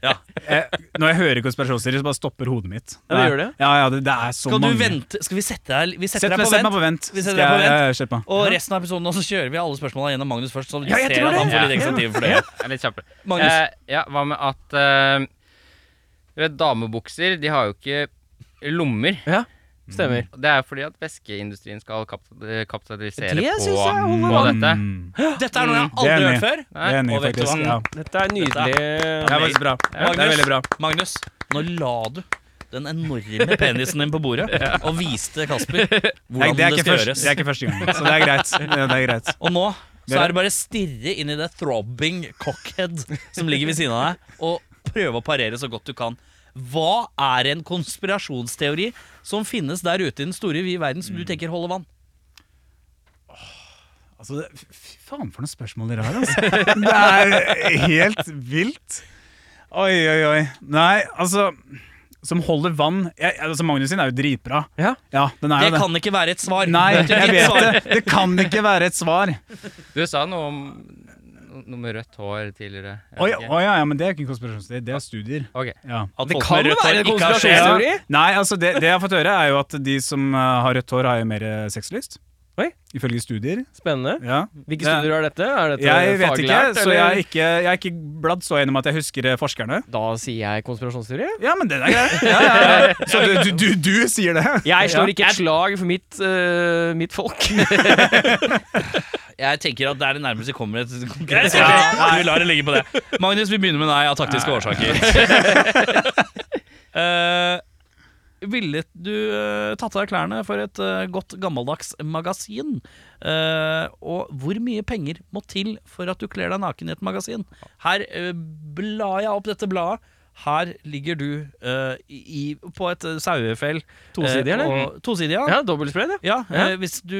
Speaker 3: ja. Jeg, når jeg hører konspirasjonsteorier, så bare stopper hodet mitt.
Speaker 2: Ja, det gjør det.
Speaker 3: Ja, ja, det, det er så
Speaker 1: Skal du
Speaker 3: mange.
Speaker 1: vente Skal vi sette deg, vi
Speaker 3: Sett
Speaker 1: setter
Speaker 3: meg,
Speaker 1: deg
Speaker 3: sett
Speaker 1: på
Speaker 3: meg
Speaker 1: vent?
Speaker 3: på vent.
Speaker 1: Vi setter
Speaker 3: Skal
Speaker 1: deg på
Speaker 3: jeg-
Speaker 1: vent.
Speaker 3: ja, Kjør på.
Speaker 1: Og resten av episoden nå så kjører vi alle spørsmålene gjennom Magnus først. Så du
Speaker 2: Ja, jeg
Speaker 1: ser at
Speaker 2: tror
Speaker 1: han
Speaker 2: det.
Speaker 1: får litt ekstra tid for det.
Speaker 4: Jeg er litt kjappere.
Speaker 1: Magnus.
Speaker 4: Eh, ja, hva med at eh, du vet, damebukser, de har jo ikke lommer.
Speaker 2: Ja, stemmer.
Speaker 4: Og Det er jo fordi at væskeindustrien skal kapt- kapitalisere
Speaker 2: Det
Speaker 4: på,
Speaker 2: synes jeg holder
Speaker 4: på dette.
Speaker 3: Mm,
Speaker 1: Dette er noe jeg
Speaker 3: Det er
Speaker 1: aldri har
Speaker 3: enig.
Speaker 1: hørt før.
Speaker 3: det er enig,
Speaker 1: Og vet du
Speaker 3: faktisk.
Speaker 1: hva?
Speaker 3: Ja.
Speaker 2: Dette er nydelig.
Speaker 3: Det er faktisk bra. Det er
Speaker 1: Magnus.
Speaker 3: veldig bra.
Speaker 1: Magnus, nå la du den enorme penisen din på bordet og viste Kasper
Speaker 3: Nei,
Speaker 1: hvordan
Speaker 3: det,
Speaker 1: det,
Speaker 3: er ikke
Speaker 1: skal
Speaker 3: første,
Speaker 1: gjøres.
Speaker 3: det er ikke første gang, så det er greit. Det det er greit.
Speaker 1: Og nå så
Speaker 3: Dere-
Speaker 1: er det bare å stirre inn i det throbbing cockhead som ligger ved siden av deg, og prøve å parere så godt du kan. Hva er en konspirasjonsteori som finnes der ute i den store, vide verden, som du tenker holder vann?
Speaker 3: Altså, det- fy faen for noen spørsmål dere har, altså. Det er helt vilt. Oi, oi, oi. Nei, altså Som holder vann jeg, altså Magnus sin er jo dritbra.
Speaker 2: Ja.
Speaker 3: Ja, den er
Speaker 1: Det
Speaker 3: jo det.
Speaker 1: kan ikke være et svar.
Speaker 3: Nei,
Speaker 1: Det er
Speaker 3: jeg
Speaker 1: ikke et
Speaker 3: vet
Speaker 1: svar.
Speaker 3: det. Det kan ikke være et svar.
Speaker 4: Du sa noe om noe med rødt hår tidligere. Jeg
Speaker 3: Oi,
Speaker 4: vet ikke.
Speaker 3: oi, ja, ja, men det er ikke en konspirasjonsteori, det er studier.
Speaker 4: Ok.
Speaker 3: Ja.
Speaker 1: At
Speaker 2: Det
Speaker 1: folk
Speaker 2: kan
Speaker 1: med rødt hår
Speaker 2: være en
Speaker 1: ikke har sjel.
Speaker 2: konspirasjonsteori.
Speaker 3: Nei, altså det, det jeg har fått høre, er jo at de som eh, har rødt hår, har jo mer eh, sexlyst.
Speaker 2: Oi.
Speaker 3: Ifølge studier.
Speaker 2: Spennende.
Speaker 3: Ja.
Speaker 2: Hvilke
Speaker 3: Det-
Speaker 2: studier er dette? Er dette
Speaker 3: Jeg vet ikke,
Speaker 2: faglært,
Speaker 3: så
Speaker 2: eller?
Speaker 3: jeg er ikke, jeg er ikke bladd så gjennom at jeg husker eh, forskerne.
Speaker 2: Da sier jeg konspirasjonsteori.
Speaker 3: Ja, men den er grei. Ja, ja, ja. Så du, du, du, du sier det?
Speaker 2: Jeg slår ikke et slag for mitt, eh, mitt folk.
Speaker 1: Jeg tenker at det er det nærmeste vi kommer et konkret
Speaker 5: Jeg
Speaker 1: svar.
Speaker 5: sier det.
Speaker 1: Vi lar det ligge på det. Magnus, vi begynner med deg av taktiske årsaker. Eh, ville du eh, tatt av deg klærne for et eh, godt gammeldags magasin? Eh, og hvor mye penger må til for at du kler deg naken i et magasin? Her eh, blar jeg opp dette bladet. Her ligger du eh, i, på et eh, sauefell.
Speaker 2: Tosidig,
Speaker 1: eh,
Speaker 2: eller?
Speaker 1: og- Tosidig, ja.
Speaker 2: Ja, dobbeltspray, det.
Speaker 1: Ja,
Speaker 2: Ja.
Speaker 1: eh, hvis du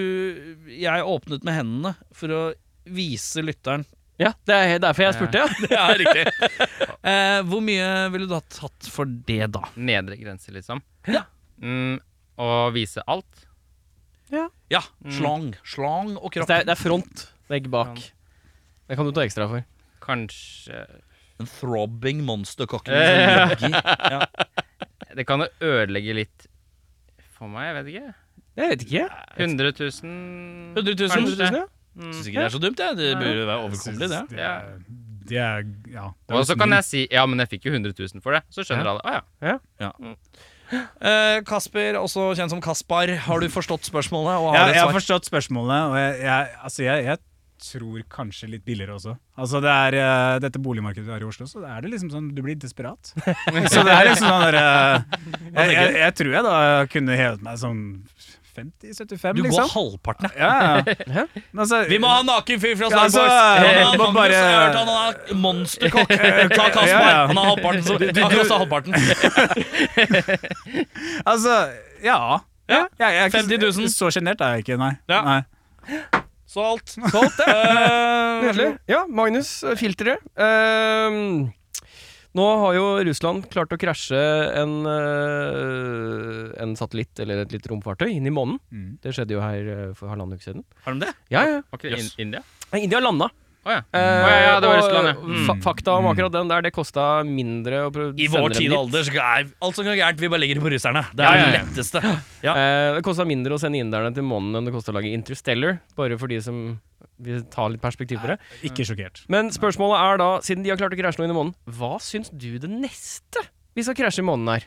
Speaker 1: Jeg åpnet med hendene for å vise lytteren.
Speaker 2: Ja, det er he- derfor jeg spurte, ja.
Speaker 1: Ja, riktig. eh, hvor mye ville du ha tatt for det, da?
Speaker 4: Nedre grense, liksom.
Speaker 1: Ja.
Speaker 4: Mm, og vise alt.
Speaker 1: Ja, Mm. slang. Slang og
Speaker 2: Så
Speaker 1: kropp.
Speaker 2: Det er, det er front, det er ikke bak. Det kan du ta ekstra for.
Speaker 4: Kanskje
Speaker 1: Den throbbing monsterkokken
Speaker 4: Ja.
Speaker 1: som ligger
Speaker 4: Det kan jo ødelegge litt for meg, jeg vet ikke.
Speaker 2: Jeg vet ikke.
Speaker 4: 100 000
Speaker 1: 100 000,
Speaker 4: kanskje.
Speaker 2: 100 000, ja.
Speaker 1: Syns ikke det er så dumt, jeg. Det burde være overkommelig, det.
Speaker 3: Det er, det er ja. det er
Speaker 4: Og så
Speaker 3: liksom
Speaker 4: kan
Speaker 3: min-
Speaker 4: jeg si Ja, men jeg fikk jo 100 000 for det. Så skjønner alle. Å ja.
Speaker 1: Eh, Kasper, også kjent som Kaspar, har du forstått spørsmålet? Og
Speaker 3: Ja,
Speaker 1: har
Speaker 3: jeg
Speaker 1: et
Speaker 3: har
Speaker 1: svar?
Speaker 3: forstått spørsmålet, og jeg, jeg, altså jeg, jeg tror kanskje litt billigere også. Altså det er, eh, dette boligmarkedet vi har i Oslo, så er det liksom sånn du blir desperat. så det er liksom sånn der eh, jeg, jeg, jeg tror jeg da kunne hevet meg sånn 50-75,
Speaker 1: Du går
Speaker 3: liksom.
Speaker 1: halvparten, ja.
Speaker 3: Ja, ja. Men altså,
Speaker 1: Vi må ha en naken fyr fra
Speaker 3: Ja,
Speaker 1: Starbucks!
Speaker 3: altså,
Speaker 1: han,
Speaker 3: eh,
Speaker 1: er
Speaker 3: må
Speaker 1: Magnus,
Speaker 3: bare-
Speaker 1: jeg har hørt han er monsterkokk. Ta Kaspar,
Speaker 3: Ja, ja.
Speaker 1: han har halvparten. Så, han koster halvparten.
Speaker 3: Altså, ja.
Speaker 1: Ja,
Speaker 3: Jeg, jeg, er ikke-
Speaker 1: 50 000.
Speaker 3: Så sjenert er jeg ikke, nei.
Speaker 1: Ja.
Speaker 3: nei.
Speaker 1: Solgt. Solgt, ja.
Speaker 2: Nydelig. Ja, Magnus, eh, filteret. Ehm, nå har jo Russland klart å krasje en, eh, en satellitt eller et lite romfartøy inn i månen.
Speaker 3: Mm.
Speaker 2: Det skjedde jo her eh, for halvannen uke siden.
Speaker 1: Har de det?
Speaker 2: Ja, ja.
Speaker 4: Var ikke det in India?
Speaker 2: Nei, India landa.
Speaker 4: Å ja.
Speaker 2: Eh,
Speaker 4: Å ja, ja, det var
Speaker 2: og,
Speaker 4: Russland, ja.
Speaker 2: eh,
Speaker 4: Mm.
Speaker 2: fa fakta om akkurat den der, det kosta mindre å prøve å
Speaker 1: I
Speaker 2: sende
Speaker 1: vår
Speaker 2: dem
Speaker 1: tid
Speaker 2: dit.
Speaker 1: og
Speaker 4: altså.
Speaker 1: alder så er alt som går gærent, vi bare legger det på russerne. Det
Speaker 4: Ja,
Speaker 1: er
Speaker 4: ja,
Speaker 1: det
Speaker 4: ja.
Speaker 1: letteste.
Speaker 2: Eh, det kosta mindre å sende inderne til månen enn det kosta å lage Interstellar, bare for de som vil ta litt perspektiv på det.
Speaker 3: Ikke sjokkert.
Speaker 2: Men spørsmålet er da, siden de har klart å krasje noe inn i månen, hva syns du det neste vi skal krasje i månen er?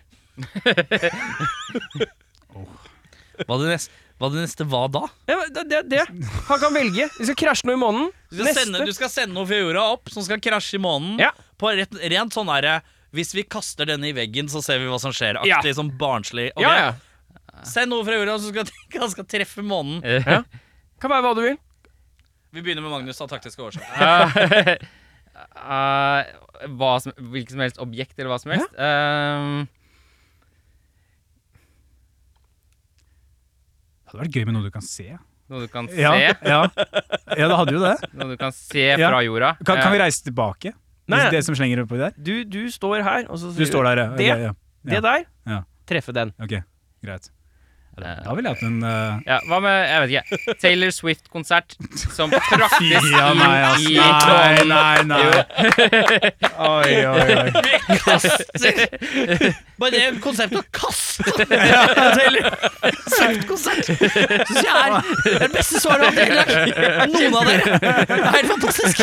Speaker 1: Hva det neste, hva det neste var da?
Speaker 2: Ja, men det, det, det. Han kan velge. Vi skal krasje noe i månen.
Speaker 1: Du skal, sende, du skal sende noe fra jorda opp som skal krasje i månen.
Speaker 2: Ja.
Speaker 1: På rett, rent sånn herre Hvis vi kaster denne i veggen, så ser vi hva som skjer.
Speaker 2: Ja.
Speaker 1: Aktig som barnslig. Ok?
Speaker 2: Ja, ja.
Speaker 1: Send noe fra jorda som skal, han skal treffe månen.
Speaker 4: Ja.
Speaker 2: Kan være hva du vil.
Speaker 1: Vi begynner med Magnus av taktiske årsaker.
Speaker 4: Eh, hva som, hvilket som helst objekt eller hva som helst. Eh,
Speaker 3: Det hadde vært gøy med noe du kan se.
Speaker 4: noe du kan se.
Speaker 3: Ja, ja. ja det hadde jo det.
Speaker 4: Noe du kan se
Speaker 3: Ja.
Speaker 4: fra jorda.
Speaker 3: Kan, kan vi
Speaker 4: Eh,
Speaker 3: reise tilbake?
Speaker 2: Nei.
Speaker 3: Det som slenger oppi der?
Speaker 2: Du, du står her, og så
Speaker 3: Du står der, ja.
Speaker 2: Det-
Speaker 3: Ok, ja.
Speaker 2: Det der,
Speaker 3: Ja.
Speaker 2: treffe den.
Speaker 3: Ok, greit.
Speaker 4: eh,
Speaker 3: Da ville jeg hatt en eh,
Speaker 4: ja, hva med jeg vet ikke, Taylor Swift-konsert som traktes
Speaker 3: Ja, nei, ass.
Speaker 4: inn i sånn.
Speaker 3: Nei, nei, nei. Oi, oi, oi.
Speaker 1: Bare det konseptet å kaste Konseptkonsert! Syns jeg er det er det beste svaret av det hele dag. Noen av dere. Det er helt fantastisk.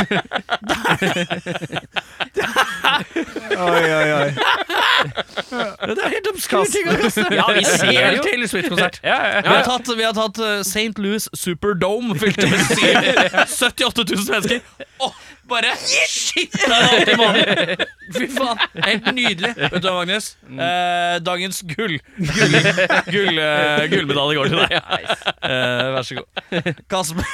Speaker 3: oi, oi, oi.
Speaker 1: Det er helt obskure ting å kaste. Ja, vi ser jo Taylor Swift-konsert.
Speaker 4: Ja, ja,
Speaker 1: Vi har tatt, vi har tatt eh, St. Louis Superdome, fylt med syv- 78 000 mennesker. Åh, bare shit! Det er alt i måneden. Fy faen, helt nydelig. Vet du hva, Magnus? Eh, dagens gull. gull, gull eh, gullmedalje går til deg. Eh, vær så god. Kasper,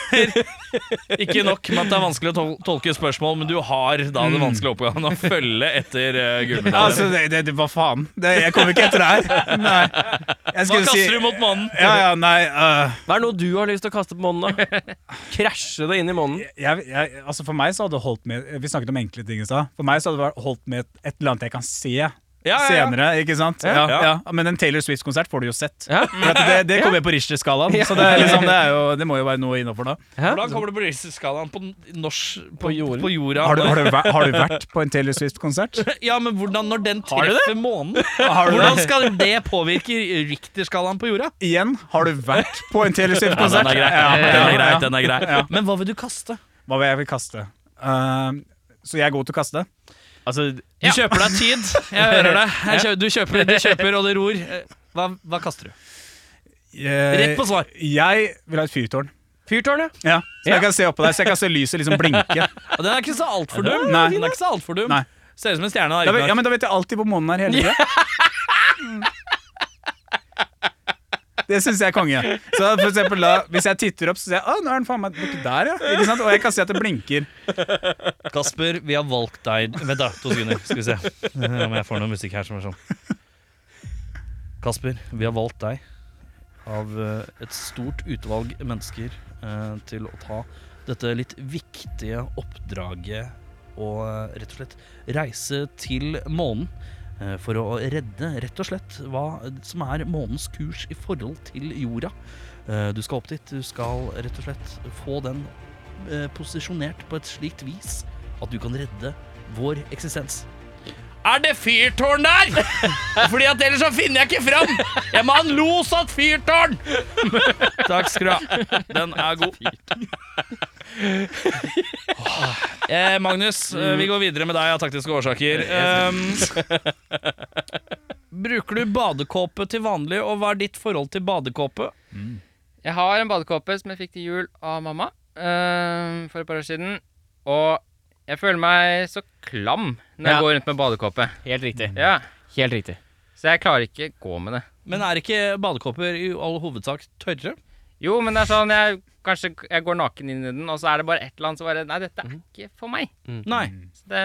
Speaker 1: ikke nok med at det er vanskelig å tol tolke spørsmål, men du har da den vanskelige oppgaven å følge etter uh, gullmedaljen.
Speaker 3: Altså, det, det, det, hva faen? Det, jeg kommer ikke etter det her. Nei. Jeg
Speaker 1: Hva
Speaker 3: skulle si
Speaker 1: kaster du mot månen?
Speaker 3: Ja, ja, nei eh,
Speaker 2: Hva er noe du har lyst til å kaste på månen, da? Krasje det inn i månen.
Speaker 3: jeg, jeg, altså For meg så hadde det holdt med Vi snakket om enkle ting i stad. For meg så hadde det vært- holdt med et, et eller annet jeg kan se.
Speaker 1: Ja, ja, ja.
Speaker 3: senere, ikke sant? Ja, ja. Men en Taylor Swift-konsert får du jo sett.
Speaker 2: Ja.
Speaker 3: For at det, det kommer jo på Richter-skalaen, så det, er liksom, det, er jo, det må jo være noe innafor da.
Speaker 2: Hæ?
Speaker 1: Hvordan kommer du på Richter-skalaen på norsk
Speaker 2: På jorden.
Speaker 1: På jorda?
Speaker 3: Har du, har, du, væ- har du vært på en Taylor Swift-konsert?
Speaker 1: Ja, men hvordan når den
Speaker 2: Har du det?
Speaker 1: treffer månen?
Speaker 3: Har du
Speaker 1: Hvordan
Speaker 3: det?
Speaker 1: skal det påvirke Richter-skalaen på jorda?
Speaker 3: Igjen, har du vært på en Taylor Swift-konsert? Ja, ja, ja.
Speaker 1: den er grei. Men hva vil du kaste?
Speaker 3: Hva vil jeg vil kaste? Ehm, så jeg er god til å kaste.
Speaker 2: Altså,
Speaker 1: Du kjøper deg tid. Jeg hører det. Jeg kjø- du kjøper det du kjøper, og det ror. Hva, hva kaster du?
Speaker 3: Jeg,
Speaker 1: Rett på svar.
Speaker 3: Eh, Jeg vil ha et fyrtårn.
Speaker 2: fyrtårn, ja.
Speaker 3: Ja, så jeg kan se oppå deg, så jeg kan se lyset liksom blinke.
Speaker 1: Og den er ikke så altfor dum.
Speaker 3: Nei.
Speaker 1: Den er ikke så alt for dum.
Speaker 3: Nei.
Speaker 1: Ser ut som en stjerne.
Speaker 3: Da, vet-
Speaker 1: Da,
Speaker 3: ja, men da vet jeg alltid hvor månen er hele tida. Det syns jeg er konge. Så for eksempel da, Hvis jeg titter opp, så ser jeg Å, nå er den faen meg borti der, ja. Ikke sant? Og jeg kan se at det blinker.
Speaker 1: Kasper, vi har valgt deg Vent, da. To sekunder. Skal vi se Eh, om jeg får noe musikk her som er sånn. Kasper, vi har valgt deg av eh, et stort utvalg mennesker eh, til å ta dette litt viktige oppdraget og eh, rett og slett reise til månen. eh, For å redde rett og slett hva som er månens kurs i forhold til jorda. Eh, Du skal opp dit. Du skal rett og slett få den eh, posisjonert på et slikt vis at du kan redde vår eksistens. Er det fyrtårn der?! Fordi at ellers så finner jeg ikke fram! Jeg må ha en los og et fyrtårn! Takk skal du ha. Den er god. Eh, Magnus, eh, vi går videre med deg av taktiske årsaker. Um, bruker du badekåpe til vanlig, og hva er ditt forhold til badekåpe?
Speaker 4: Jeg har en badekåpe som jeg fikk til jul av mamma eh, for et par år siden. Og jeg føler meg så klam
Speaker 2: Ja.
Speaker 4: når jeg går rundt med badekåpe.
Speaker 2: Helt riktig.
Speaker 4: Ja.
Speaker 2: Helt riktig.
Speaker 4: Så jeg klarer ikke gå med det.
Speaker 1: Men er ikke badekåper i all hovedsak tørre?
Speaker 4: Jo, men det er sånn jeg Kanskje jeg går naken inn i den, og så er det bare et eller annet som bare Nei, dette er ikke for meg.
Speaker 1: Nei.
Speaker 4: Så det,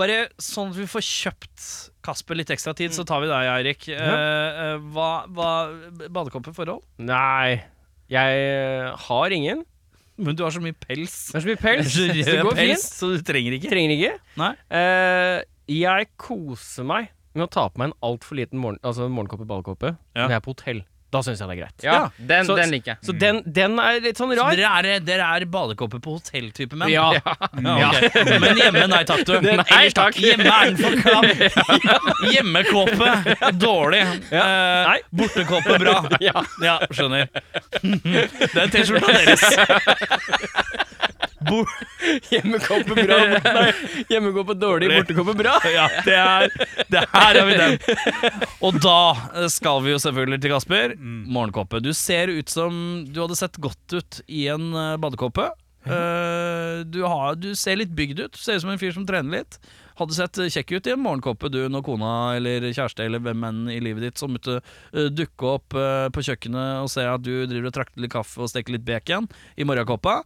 Speaker 1: Bare sånn at vi får kjøpt Kasper litt ekstra tid, så tar vi deg, Eirik. Eh, eh, hva, hva Badekåpeforhold?
Speaker 2: Nei, jeg eh, har ingen.
Speaker 1: Men du har så mye pels.
Speaker 2: Det er så mye pels.
Speaker 1: Så
Speaker 2: så det
Speaker 1: rød
Speaker 2: går
Speaker 1: pels,
Speaker 2: fint.
Speaker 1: så du trenger ikke.
Speaker 2: Trenger ikke.
Speaker 1: Nei.
Speaker 2: Eh, jeg koser meg med å ta på meg en altfor liten morgen, altså en morgenkåpe badekåpe
Speaker 1: Ja.
Speaker 2: når jeg er på hotell. Da syns jeg det er greit.
Speaker 4: ja, den,
Speaker 2: så-
Speaker 4: den liker jeg.
Speaker 2: Så den, den er litt sånn
Speaker 1: Så
Speaker 2: rar.
Speaker 1: dere er, dere er badekåper på hotelltype menn?
Speaker 2: Ja.
Speaker 1: Ja, ok. Men hjemme, nei takk, du.
Speaker 2: Nei,
Speaker 1: Ellers
Speaker 2: takk.
Speaker 1: Hjemme er den for klam. Hjemmekåpe, dårlig. Eh,
Speaker 2: Nei.
Speaker 1: bortekåpe, bra.
Speaker 2: Ja.
Speaker 1: Ja, skjønner. Det er T-skjorta deres.
Speaker 2: Hjemmekåpe bra. Nei, Hjemmekåpe dårlig, bortekåpe bra.
Speaker 1: Ja, det er det Her har vi den. Og da eh, skal vi jo selvfølgelig til Kasper. Morgenkåpe. Du ser ut som du hadde sett godt ut i en eh, badekåpe. Eh, du, har, du ser litt bygd ut. Ser ut som en fyr som trener litt. Hadde sett eh, kjekk ut i en morgenkåpe du når kona eller kjæreste eller hvem enn i livet ditt som måtte eh, dukke opp eh, på kjøkkenet og se at du driver og trakter litt kaffe og steker litt bacon i morgenkåpa.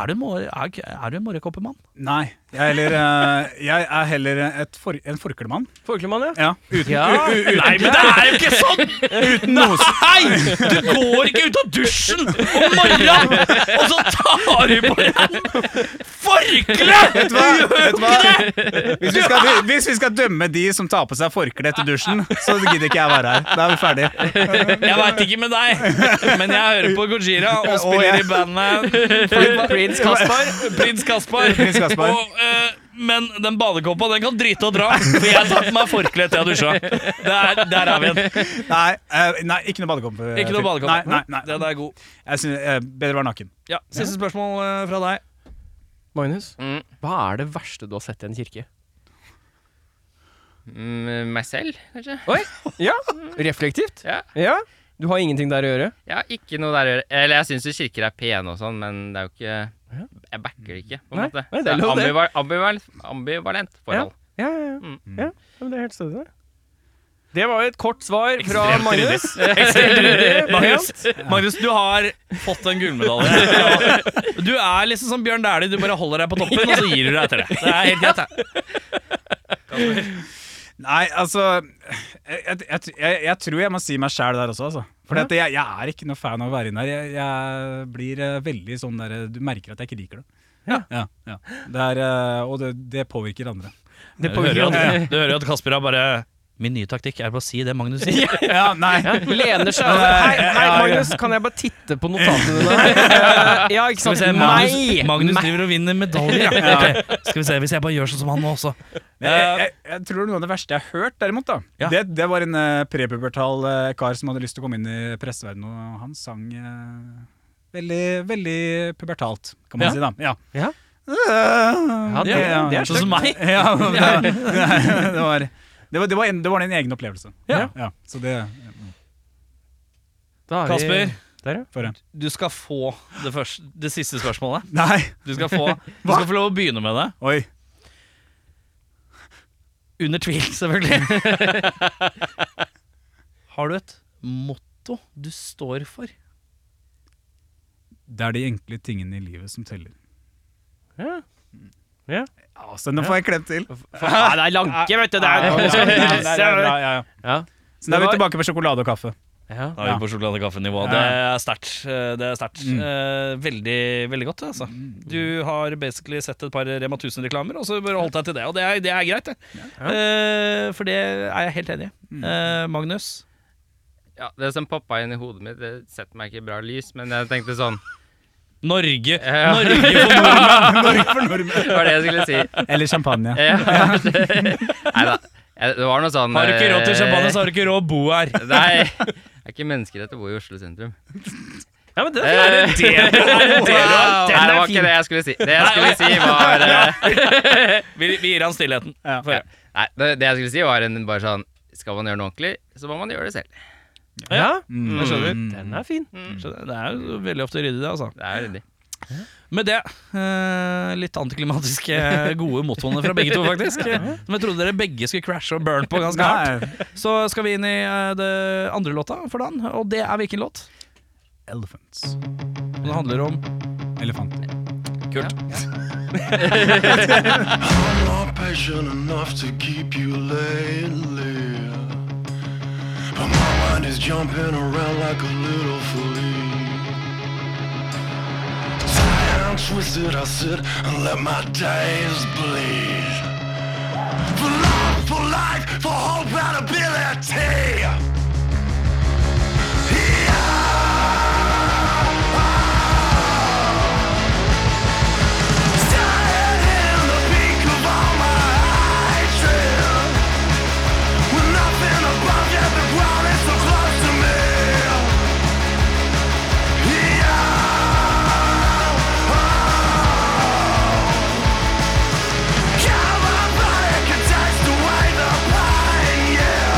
Speaker 1: Er du, en mor er, er du en morgenkåpemann?
Speaker 3: Nei. Jeg er heller, eh, jeg er heller et for, en forklemann.
Speaker 2: Folkemann, ja.
Speaker 3: Ja. Uten, u, u,
Speaker 1: Nei, men det er jo ikke sånn!
Speaker 3: uten noe
Speaker 1: Nei! Du går ikke ut av dusjen om morgenen, og så tar du på deg forkle!
Speaker 3: Vet du hva? Vet du hva? Hvis, vi skal, hvis vi skal dømme de som tar på seg forkle etter dusjen, så gidder ikke jeg være her. Da er vi ferdige.
Speaker 1: Jeg veit ikke med deg, men jeg hører på Gojira og
Speaker 3: Å, ja.
Speaker 1: spiller i bandet
Speaker 2: Prins Kaspar.
Speaker 1: Prins Kaspar.
Speaker 3: Prins Kaspar.
Speaker 1: Og, eh, men den badekåpa den kan drite og dra, for jeg tar på meg forkle etter jeg har dusja. Der, der er vi igjen.
Speaker 3: Nei, eh, nei ikke noe badekåpe.
Speaker 1: Ikke noe badekåpe.
Speaker 3: Nei, nei, nei.
Speaker 1: Den er god.
Speaker 3: Jeg synes, eh, bedre være naken.
Speaker 1: Ja, Siste spørsmål eh, fra deg.
Speaker 2: Magnus,
Speaker 4: Mm.
Speaker 2: hva er det verste du har sett i en kirke?
Speaker 4: Mm, meg selv, kanskje?
Speaker 2: Oi! Ja. Reflektivt.
Speaker 4: Ja.
Speaker 2: Ja. Du har ingenting der å gjøre?
Speaker 4: Jeg har ikke noe der å gjøre. Eller jeg syns jo kirker er pene og sånn, men det er jo ikke Jeg backer det ikke, på en
Speaker 2: Nei,
Speaker 4: måte.
Speaker 2: nei, det er lov, det.
Speaker 4: ambival, ambival, ambivalent forhold.
Speaker 2: Ja, ja, ja.
Speaker 4: Mm.
Speaker 2: ja. ja men det er helt stødig, det. Det var jo et kort svar fra Magnus.
Speaker 1: Magnus, Magnus, du har fått en gullmedalje. Du er liksom som Bjørn Dæhlie, du bare holder deg på toppen, og så gir du deg etter det. Det er helt greit, det.
Speaker 3: Nei, altså Jeg, jeg, jeg, jeg, jeg tror jeg må si meg sjæl der også, altså. For at jeg, jeg er ikke noe fan av å være inne her. Jeg, jeg blir eh, veldig sånn der Du merker at jeg ikke liker det.
Speaker 2: Ja.
Speaker 3: ja, ja. Det er, eh, og det, det påvirker andre.
Speaker 1: Du hører, jo at, du hører jo at Kasper har bare Min nye taktikk er bare å si det Magnus sier.
Speaker 3: Ja, nei.
Speaker 2: Ja, lener seg over. Hei, hei, Magnus, kan jeg bare titte på notatene dine? Eh, Ja, ikke
Speaker 1: Skal vi
Speaker 2: sant?
Speaker 1: se, Magnus,
Speaker 2: Nei!
Speaker 1: Magnus driver og vinner medaljer. Ja. Ok, Skal vi se, Hvis jeg bare gjør sånn som han nå også.
Speaker 3: Men Jeg, jeg, Eh, jeg tror noe av det verste jeg har hørt, derimot, da
Speaker 1: Ja.
Speaker 3: det, det var en eh, prepubertal eh, kar som hadde lyst til å komme inn i presseverdenen, og han sang eh, veldig, veldig pubertalt, kan man
Speaker 1: Ja.
Speaker 3: si, da. Ja.
Speaker 2: Ja.
Speaker 3: Ja,
Speaker 2: det- det er
Speaker 1: Sånn som meg.
Speaker 3: Ja, det, det, det, var, det, var, det, var en, det var din egen opplevelse.
Speaker 1: Ja.
Speaker 3: så det
Speaker 2: Da er vi-
Speaker 1: Kasper,
Speaker 2: Der, ja.
Speaker 3: får jeg.
Speaker 1: du skal få det, første, det siste spørsmålet.
Speaker 3: Nei!
Speaker 1: Du skal få, du skal få lov å begynne med det.
Speaker 3: Oi.
Speaker 1: Under tvil, selvfølgelig. Har du et motto du står for?
Speaker 3: Det er de enkle tingene i livet som teller.
Speaker 2: Ja. Ja.
Speaker 3: Altså, nå får jeg klemt til.
Speaker 2: Nei, det er lanke, vet du. Det er,
Speaker 3: Nei, nei, nei, nei, det er bra, ja, ja.
Speaker 2: Ja.
Speaker 3: Så da er vi
Speaker 2: Det var-
Speaker 3: tilbake på sjokolade og kaffe.
Speaker 2: Ja.
Speaker 1: Da er vi på sjokoladekaffenivå. Det er sterkt. Det er sterkt.
Speaker 3: Mm.
Speaker 1: Eh, Veldig, veldig godt, altså. Du har basically sett et par Rema 1000-reklamer, og så bare holdt deg til det. Og det er, det er greit, det. Eh, For det er jeg helt enig i.
Speaker 3: Mm.
Speaker 1: Eh, Magnus?
Speaker 4: Ja, det som poppa inn i hodet mitt, det setter meg ikke i bra lys, men jeg tenkte sånn
Speaker 1: Norge.
Speaker 4: Ja.
Speaker 1: Norge for nordmenn.
Speaker 3: Norge for nordmenn.
Speaker 4: Det var det jeg skulle si.
Speaker 3: Eller champagne.
Speaker 4: Ja. Nei da. Det var noe sånn
Speaker 1: Har du ikke råd til champagne, så har du ikke råd å bo her.
Speaker 4: eh, Nei. Det er ikke mennesker dette bor i Oslo sentrum.
Speaker 2: ja, men det
Speaker 4: Eh,
Speaker 2: er det.
Speaker 4: Wow. Nei,
Speaker 2: den
Speaker 4: det
Speaker 2: er
Speaker 4: var
Speaker 2: fin.
Speaker 4: ikke det jeg skulle si. Det jeg skulle si, var eh,
Speaker 1: Vi, vi gir han stillheten.
Speaker 3: Ja.
Speaker 1: Få høre.
Speaker 4: Nei, det, det jeg skulle si, var en, bare sånn Skal man gjøre noe ordentlig, så må man gjøre det selv.
Speaker 2: Ja,
Speaker 3: Mm.
Speaker 4: Jeg skjønner.
Speaker 2: den er fin.
Speaker 1: Så det- Det er jo veldig ofte ryddig, det, altså.
Speaker 4: Det er ryddig.
Speaker 1: Med det, eh, litt antiklimatiske gode mottoene fra begge to, faktisk. Som jeg trodde dere begge skulle crashe og burn på ganske hardt.
Speaker 3: Nei,
Speaker 1: Så skal vi inn i eh, det andre låta for dagen, og det er hvilken låt?
Speaker 3: Elephants.
Speaker 1: Og Det handler om
Speaker 3: Elefanter.
Speaker 1: Kult.
Speaker 6: I'm not patient enough to keep you lately. But my mind is jumping around like a little flea. Tired and twisted, I sit and let my days bleed. For love, for life, for hope and ability. Dying in the peak of all my hatred. With nothing above, yet the ground is so close to me. Yeah, my body can taste away the pain. Yeah,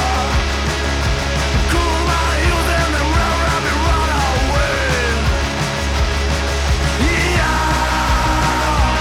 Speaker 6: cool my youth and then run, run, run away. Yeah.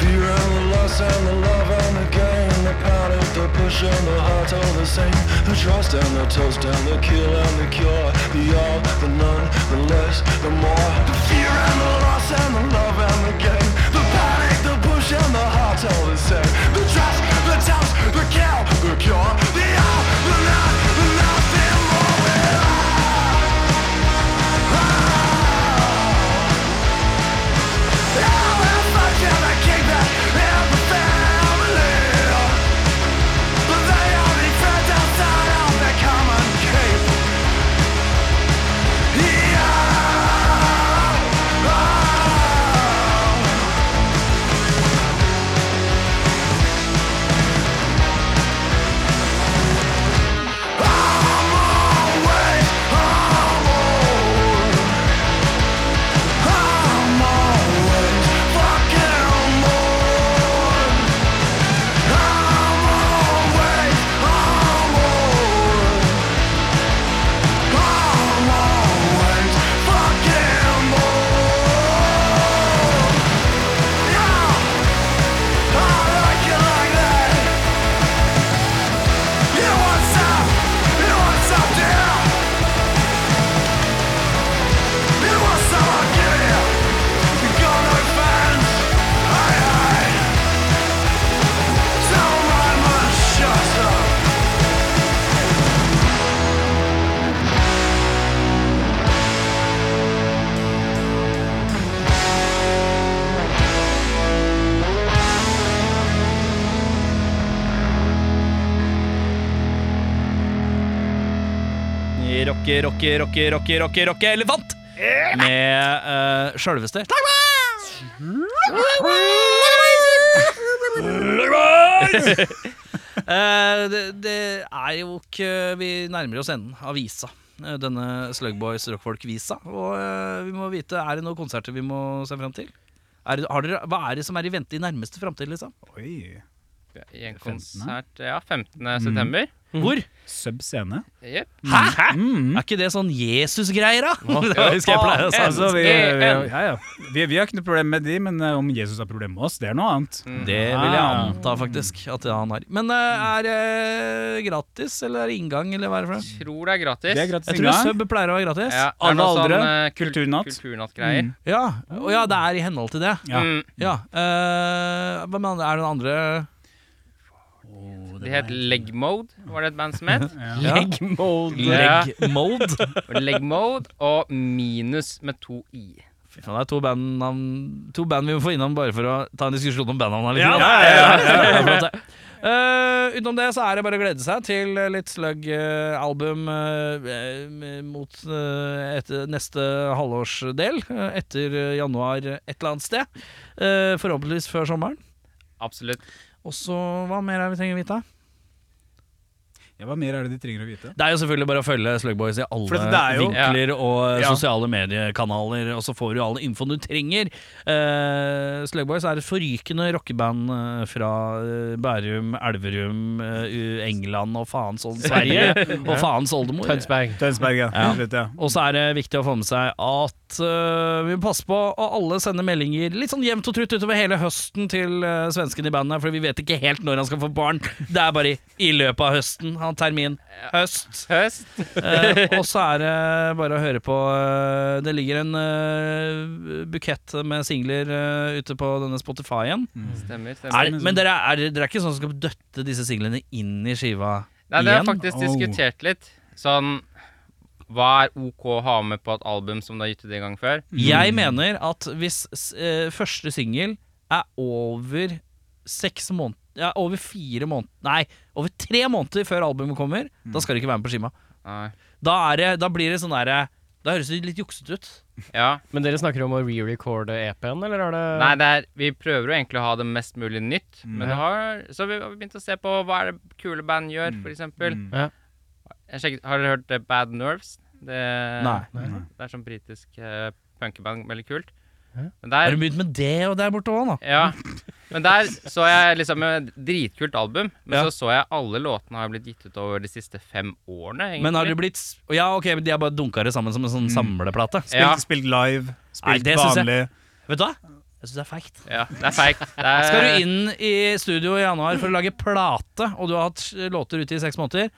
Speaker 6: Fear and the loss and the love and the gain and the panic, the push and the heart all the same. The trust and the toast and the kill and the cure. The all, the none, the less, the more. The fear and the loss and the love and the gain. The panic, the push and the heart all the same. The trust, the toast, the kill, the cure. The all, the none, the nothing more. How if I can I keep that in the family? But they only friends outside of the common keep. Yeah.
Speaker 1: rocke, rocke, rocke, rocke, rocke, rocke elefant! Med uh, sjølveste Eh, det, det er jo ikke Vi nærmer oss enden av visa. eh, Denne Slugboys Rockfolk-visa. Og eh, vi må vite, er det noen konserter vi må se frem til? Er det, har dere, hva er det som er i vente i nærmeste framtid, liksom?
Speaker 3: Oi.
Speaker 4: I en konsert Ja, 15.
Speaker 3: Mm.
Speaker 4: september.
Speaker 1: Hvor?
Speaker 3: Sub scene.
Speaker 4: Jep.
Speaker 1: Hæ?!
Speaker 3: Mm.
Speaker 1: Er ikke det sånn Jesus-greier, da? Det er jo
Speaker 4: husker jeg pleier å si.
Speaker 3: Altså, vi, vi,
Speaker 4: SEN.
Speaker 3: ja, ja. vi, vi har ikke noe problem med de, men eh, om Jesus har problem med oss, det er noe annet.
Speaker 1: Det vil jeg anta, faktisk. At han har. Men eh, er det gratis, eller er det inngang, eller hva er det for noe?
Speaker 4: Tror det er gratis.
Speaker 3: Det er gratis
Speaker 1: Jeg tror
Speaker 3: inngang.
Speaker 1: sub pleier å være gratis.
Speaker 4: Ja,
Speaker 1: Ja,
Speaker 4: det er
Speaker 3: Alle
Speaker 4: noe
Speaker 3: aldre,
Speaker 4: eh, kul-
Speaker 3: kulturnatt.
Speaker 4: Kulturnattgreier.
Speaker 3: Mm.
Speaker 1: Og ja, det er i henhold til det.
Speaker 3: Ja.
Speaker 4: Mm.
Speaker 1: Ja. eh, hvem andre? Er det noen andre
Speaker 4: De het Leg Mode, var det et band som het.
Speaker 1: ja.
Speaker 4: Ja.
Speaker 1: Leg Mode?
Speaker 4: Leg Mode og Minus med to i.
Speaker 1: Fy faen, det er to bandnavn- to band vi må få innom bare for å ta en diskusjon om bandnavn. Ja, Uh, utenom det så er det bare å glede seg til eh, litt slug-album mot eh, etter neste halvårsdel. eh, etter eh, januar eh, et eller annet sted. Eh, forhåpentligvis før sommeren.
Speaker 4: Absolutt.
Speaker 1: Og så hva mer er det vi trenger å vite?
Speaker 3: Ja, hva mer er det de trenger å vite?
Speaker 1: Det er jo selvfølgelig bare å følge Slugboys i alle
Speaker 3: For det er jo-
Speaker 1: vinkler og eh,
Speaker 4: Ja.
Speaker 1: sosiale mediekanaler, og så får du all infoen du trenger. Eh, Slugboys er et forrykende rockeband eh, fra eh, Bærum, Elverum, eh, U- England og faens old Sverige og faens oldemor.
Speaker 2: Tønsberg.
Speaker 3: Tønsberg, ja.
Speaker 1: Ja.
Speaker 3: Slutt, ja.
Speaker 1: Og så er det viktig å få med seg at øh, vi må passe på å alle sende meldinger litt sånn jevnt og trutt utover hele høsten til øh, svensken i bandet, for vi vet ikke helt når han skal få barn. Det er bare i, i løpet av høsten. Han har termin høst.
Speaker 4: Høst.
Speaker 1: Eh, og så er det bare å høre på øh, Det ligger en øh, bukett med singler øh, ute på denne Spotify-en.
Speaker 4: Mm. Stemmer. stemmer.
Speaker 1: Er, men dere er, dere er ikke sånn som skal døtte disse singlene inn i skiva
Speaker 4: Nei, det har
Speaker 1: igjen?
Speaker 4: faktisk
Speaker 3: Oh.
Speaker 4: diskutert litt. Sånn Hva er OK å ha med på et album som du har gitt ut en gang før?
Speaker 1: Jeg
Speaker 4: Mm.
Speaker 1: mener at hvis s- eh, første singel er over seks måneder ja, over fire måneder Nei, over tre måneder før albumet kommer,
Speaker 4: Mm.
Speaker 1: da skal det ikke være med på Shima.
Speaker 4: Nei.
Speaker 1: Da, er det, da blir det sånn derre Da høres det litt juksete ut.
Speaker 4: Ja.
Speaker 2: Men dere snakker om å re-recorde EP-en, eller er det
Speaker 4: Nei, det er, vi prøver jo egentlig å ha det mest mulig nytt, men det har, så vi har begynt å se på hva er det kule band
Speaker 1: Mm.
Speaker 4: gjør, for eksempel.
Speaker 2: Ja.
Speaker 4: Jeg sjekket, har dere hørt eh, Bad Nerves? Det,
Speaker 1: Nei.
Speaker 4: Det er sånn britisk eh, punkeband, veldig kult.
Speaker 2: Ja.
Speaker 4: Men
Speaker 1: Har
Speaker 4: der,
Speaker 1: du begynt med det og der borte òg, nå?
Speaker 4: ja, men der så jeg liksom et dritkult album, men
Speaker 1: Ja.
Speaker 4: så så jeg alle låtene har blitt gitt ut over de siste fem årene, egentlig.
Speaker 1: Men har du blitt s- Ja, ok, men de har bare dunka det sammen som en sånn samleplate.
Speaker 4: Ja.
Speaker 3: Spilt, spilt live, spilt
Speaker 1: det synes jeg-
Speaker 3: vanlig.
Speaker 1: Vet du hva? Jeg syns det er feigt.
Speaker 4: Ja, det er feigt. Det er-
Speaker 1: Skal du inn i studio i januar for å lage plate, og du har hatt eh, låter ute i seks måneder,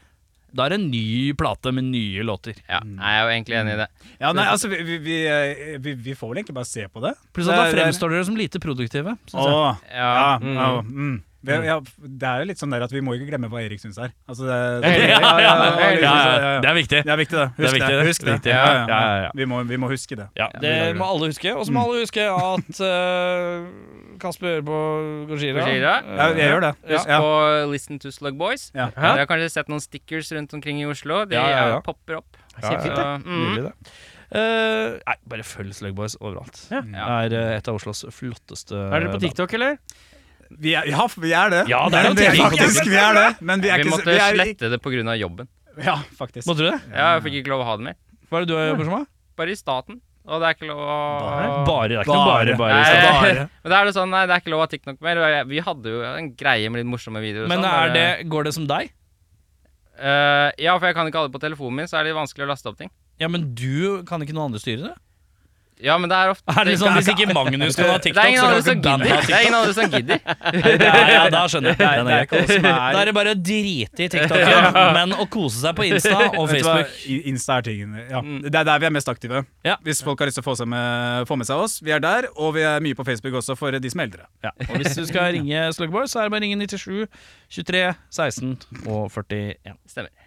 Speaker 1: da er det en ny plate med nye låter.
Speaker 4: Ja, jeg er jo egentlig enig i det.
Speaker 3: Ja, nei, altså, vi, vi, vi, eh, vi, vi får vel egentlig bare se på det.
Speaker 1: Pluss at da
Speaker 3: Det er-
Speaker 1: fremstår dere som lite produktive. synes jeg.
Speaker 3: Åh, ja,
Speaker 4: Ja. Mm.
Speaker 3: ja, mm. Vi- ja, det er jo litt sånn der at vi må ikke glemme hva Erik syns er. Altså,
Speaker 2: Ja,
Speaker 3: det, ja, ja, ja,
Speaker 1: Ja, ja,
Speaker 3: ja, ja.
Speaker 1: Det er viktig.
Speaker 3: Det er viktig, det. Husk
Speaker 1: Det er
Speaker 3: det.
Speaker 1: viktig, det.
Speaker 3: Husk det.
Speaker 1: Viktig. Ja, ja, ja.
Speaker 3: Vi, må, vi må huske det.
Speaker 1: Ja, det må alle huske. Og så må alle huske at eh, Kasper hører på Gojira.
Speaker 4: Gojira.
Speaker 1: Eh,
Speaker 3: Ja, jeg gjør det.
Speaker 4: Husk
Speaker 3: Ja.
Speaker 4: på Listen to Slug Boys.
Speaker 3: Ja.
Speaker 4: Dere har kanskje sett noen stickers rundt omkring i Oslo. De
Speaker 1: Ja, ja, ja.
Speaker 4: eh, popper opp.
Speaker 2: Kjempefint,
Speaker 4: Så, mm.
Speaker 1: Nydelig, det. Eh, nei, bare følg Slugboys overalt.
Speaker 2: Ja.
Speaker 1: Det er eh, et av Oslos flotteste
Speaker 2: Er dere på
Speaker 1: band.
Speaker 2: TikTok, eller?
Speaker 3: Vi er, ja, vi er det.
Speaker 1: Ja, det er noe
Speaker 3: vi er
Speaker 1: ting på
Speaker 3: faktisk vi er det. Men vi er
Speaker 4: Vi
Speaker 3: ikke
Speaker 4: måtte
Speaker 3: vi er, ikke-
Speaker 4: slette det pga. jobben.
Speaker 3: Ja, faktisk.
Speaker 1: Måtte du det?
Speaker 4: Ja, jeg fikk ikke lov å ha det mer.
Speaker 1: Hva er det du jobber som? da?
Speaker 4: Bare i staten. Og det er ikke lov å
Speaker 1: Bare. Det er ikke noe bare, bare.
Speaker 4: Nei,
Speaker 1: Bare.
Speaker 4: Men da er det sånn, nei, det er ikke lov å ha TikTok mer. Og jeg- Vi hadde jo en greie med litt morsomme videoer. og
Speaker 1: Men
Speaker 4: sånn,
Speaker 1: er
Speaker 4: bare-
Speaker 1: det, går det som deg?
Speaker 4: Eh, ja, for jeg kan ikke ha det på telefonen min, så er det litt vanskelig å laste opp ting.
Speaker 1: Ja, men du kan ikke noen andre styre det?
Speaker 4: Ja, men det er ofte
Speaker 1: Er det sånn Hvis ikke Magnus kan ha
Speaker 4: Det
Speaker 1: TikTok,
Speaker 4: er ingen
Speaker 1: så
Speaker 4: andre
Speaker 1: kan
Speaker 4: som
Speaker 1: ikke bandet ha
Speaker 4: gidder. Det er ingen andre som gidder.
Speaker 1: Ja, ja, da skjønner jeg. Den er grei. Da
Speaker 3: Da
Speaker 1: er det bare å drite i TikToken, men å kose seg på Insta og
Speaker 3: Vet du hva?
Speaker 1: Facebook. Mm.
Speaker 3: I- Insta er tingen. Ja. Det er der vi er mest aktive.
Speaker 1: Ja.
Speaker 3: Hvis folk har lyst til å få, seg med, få med seg oss. Vi er der, og vi er mye på Facebook også, for de som er eldre.
Speaker 1: Ja. Og hvis du skal ringe Slugboy, så er det bare å ringe 97 23 16 og 41.
Speaker 4: Stemmer.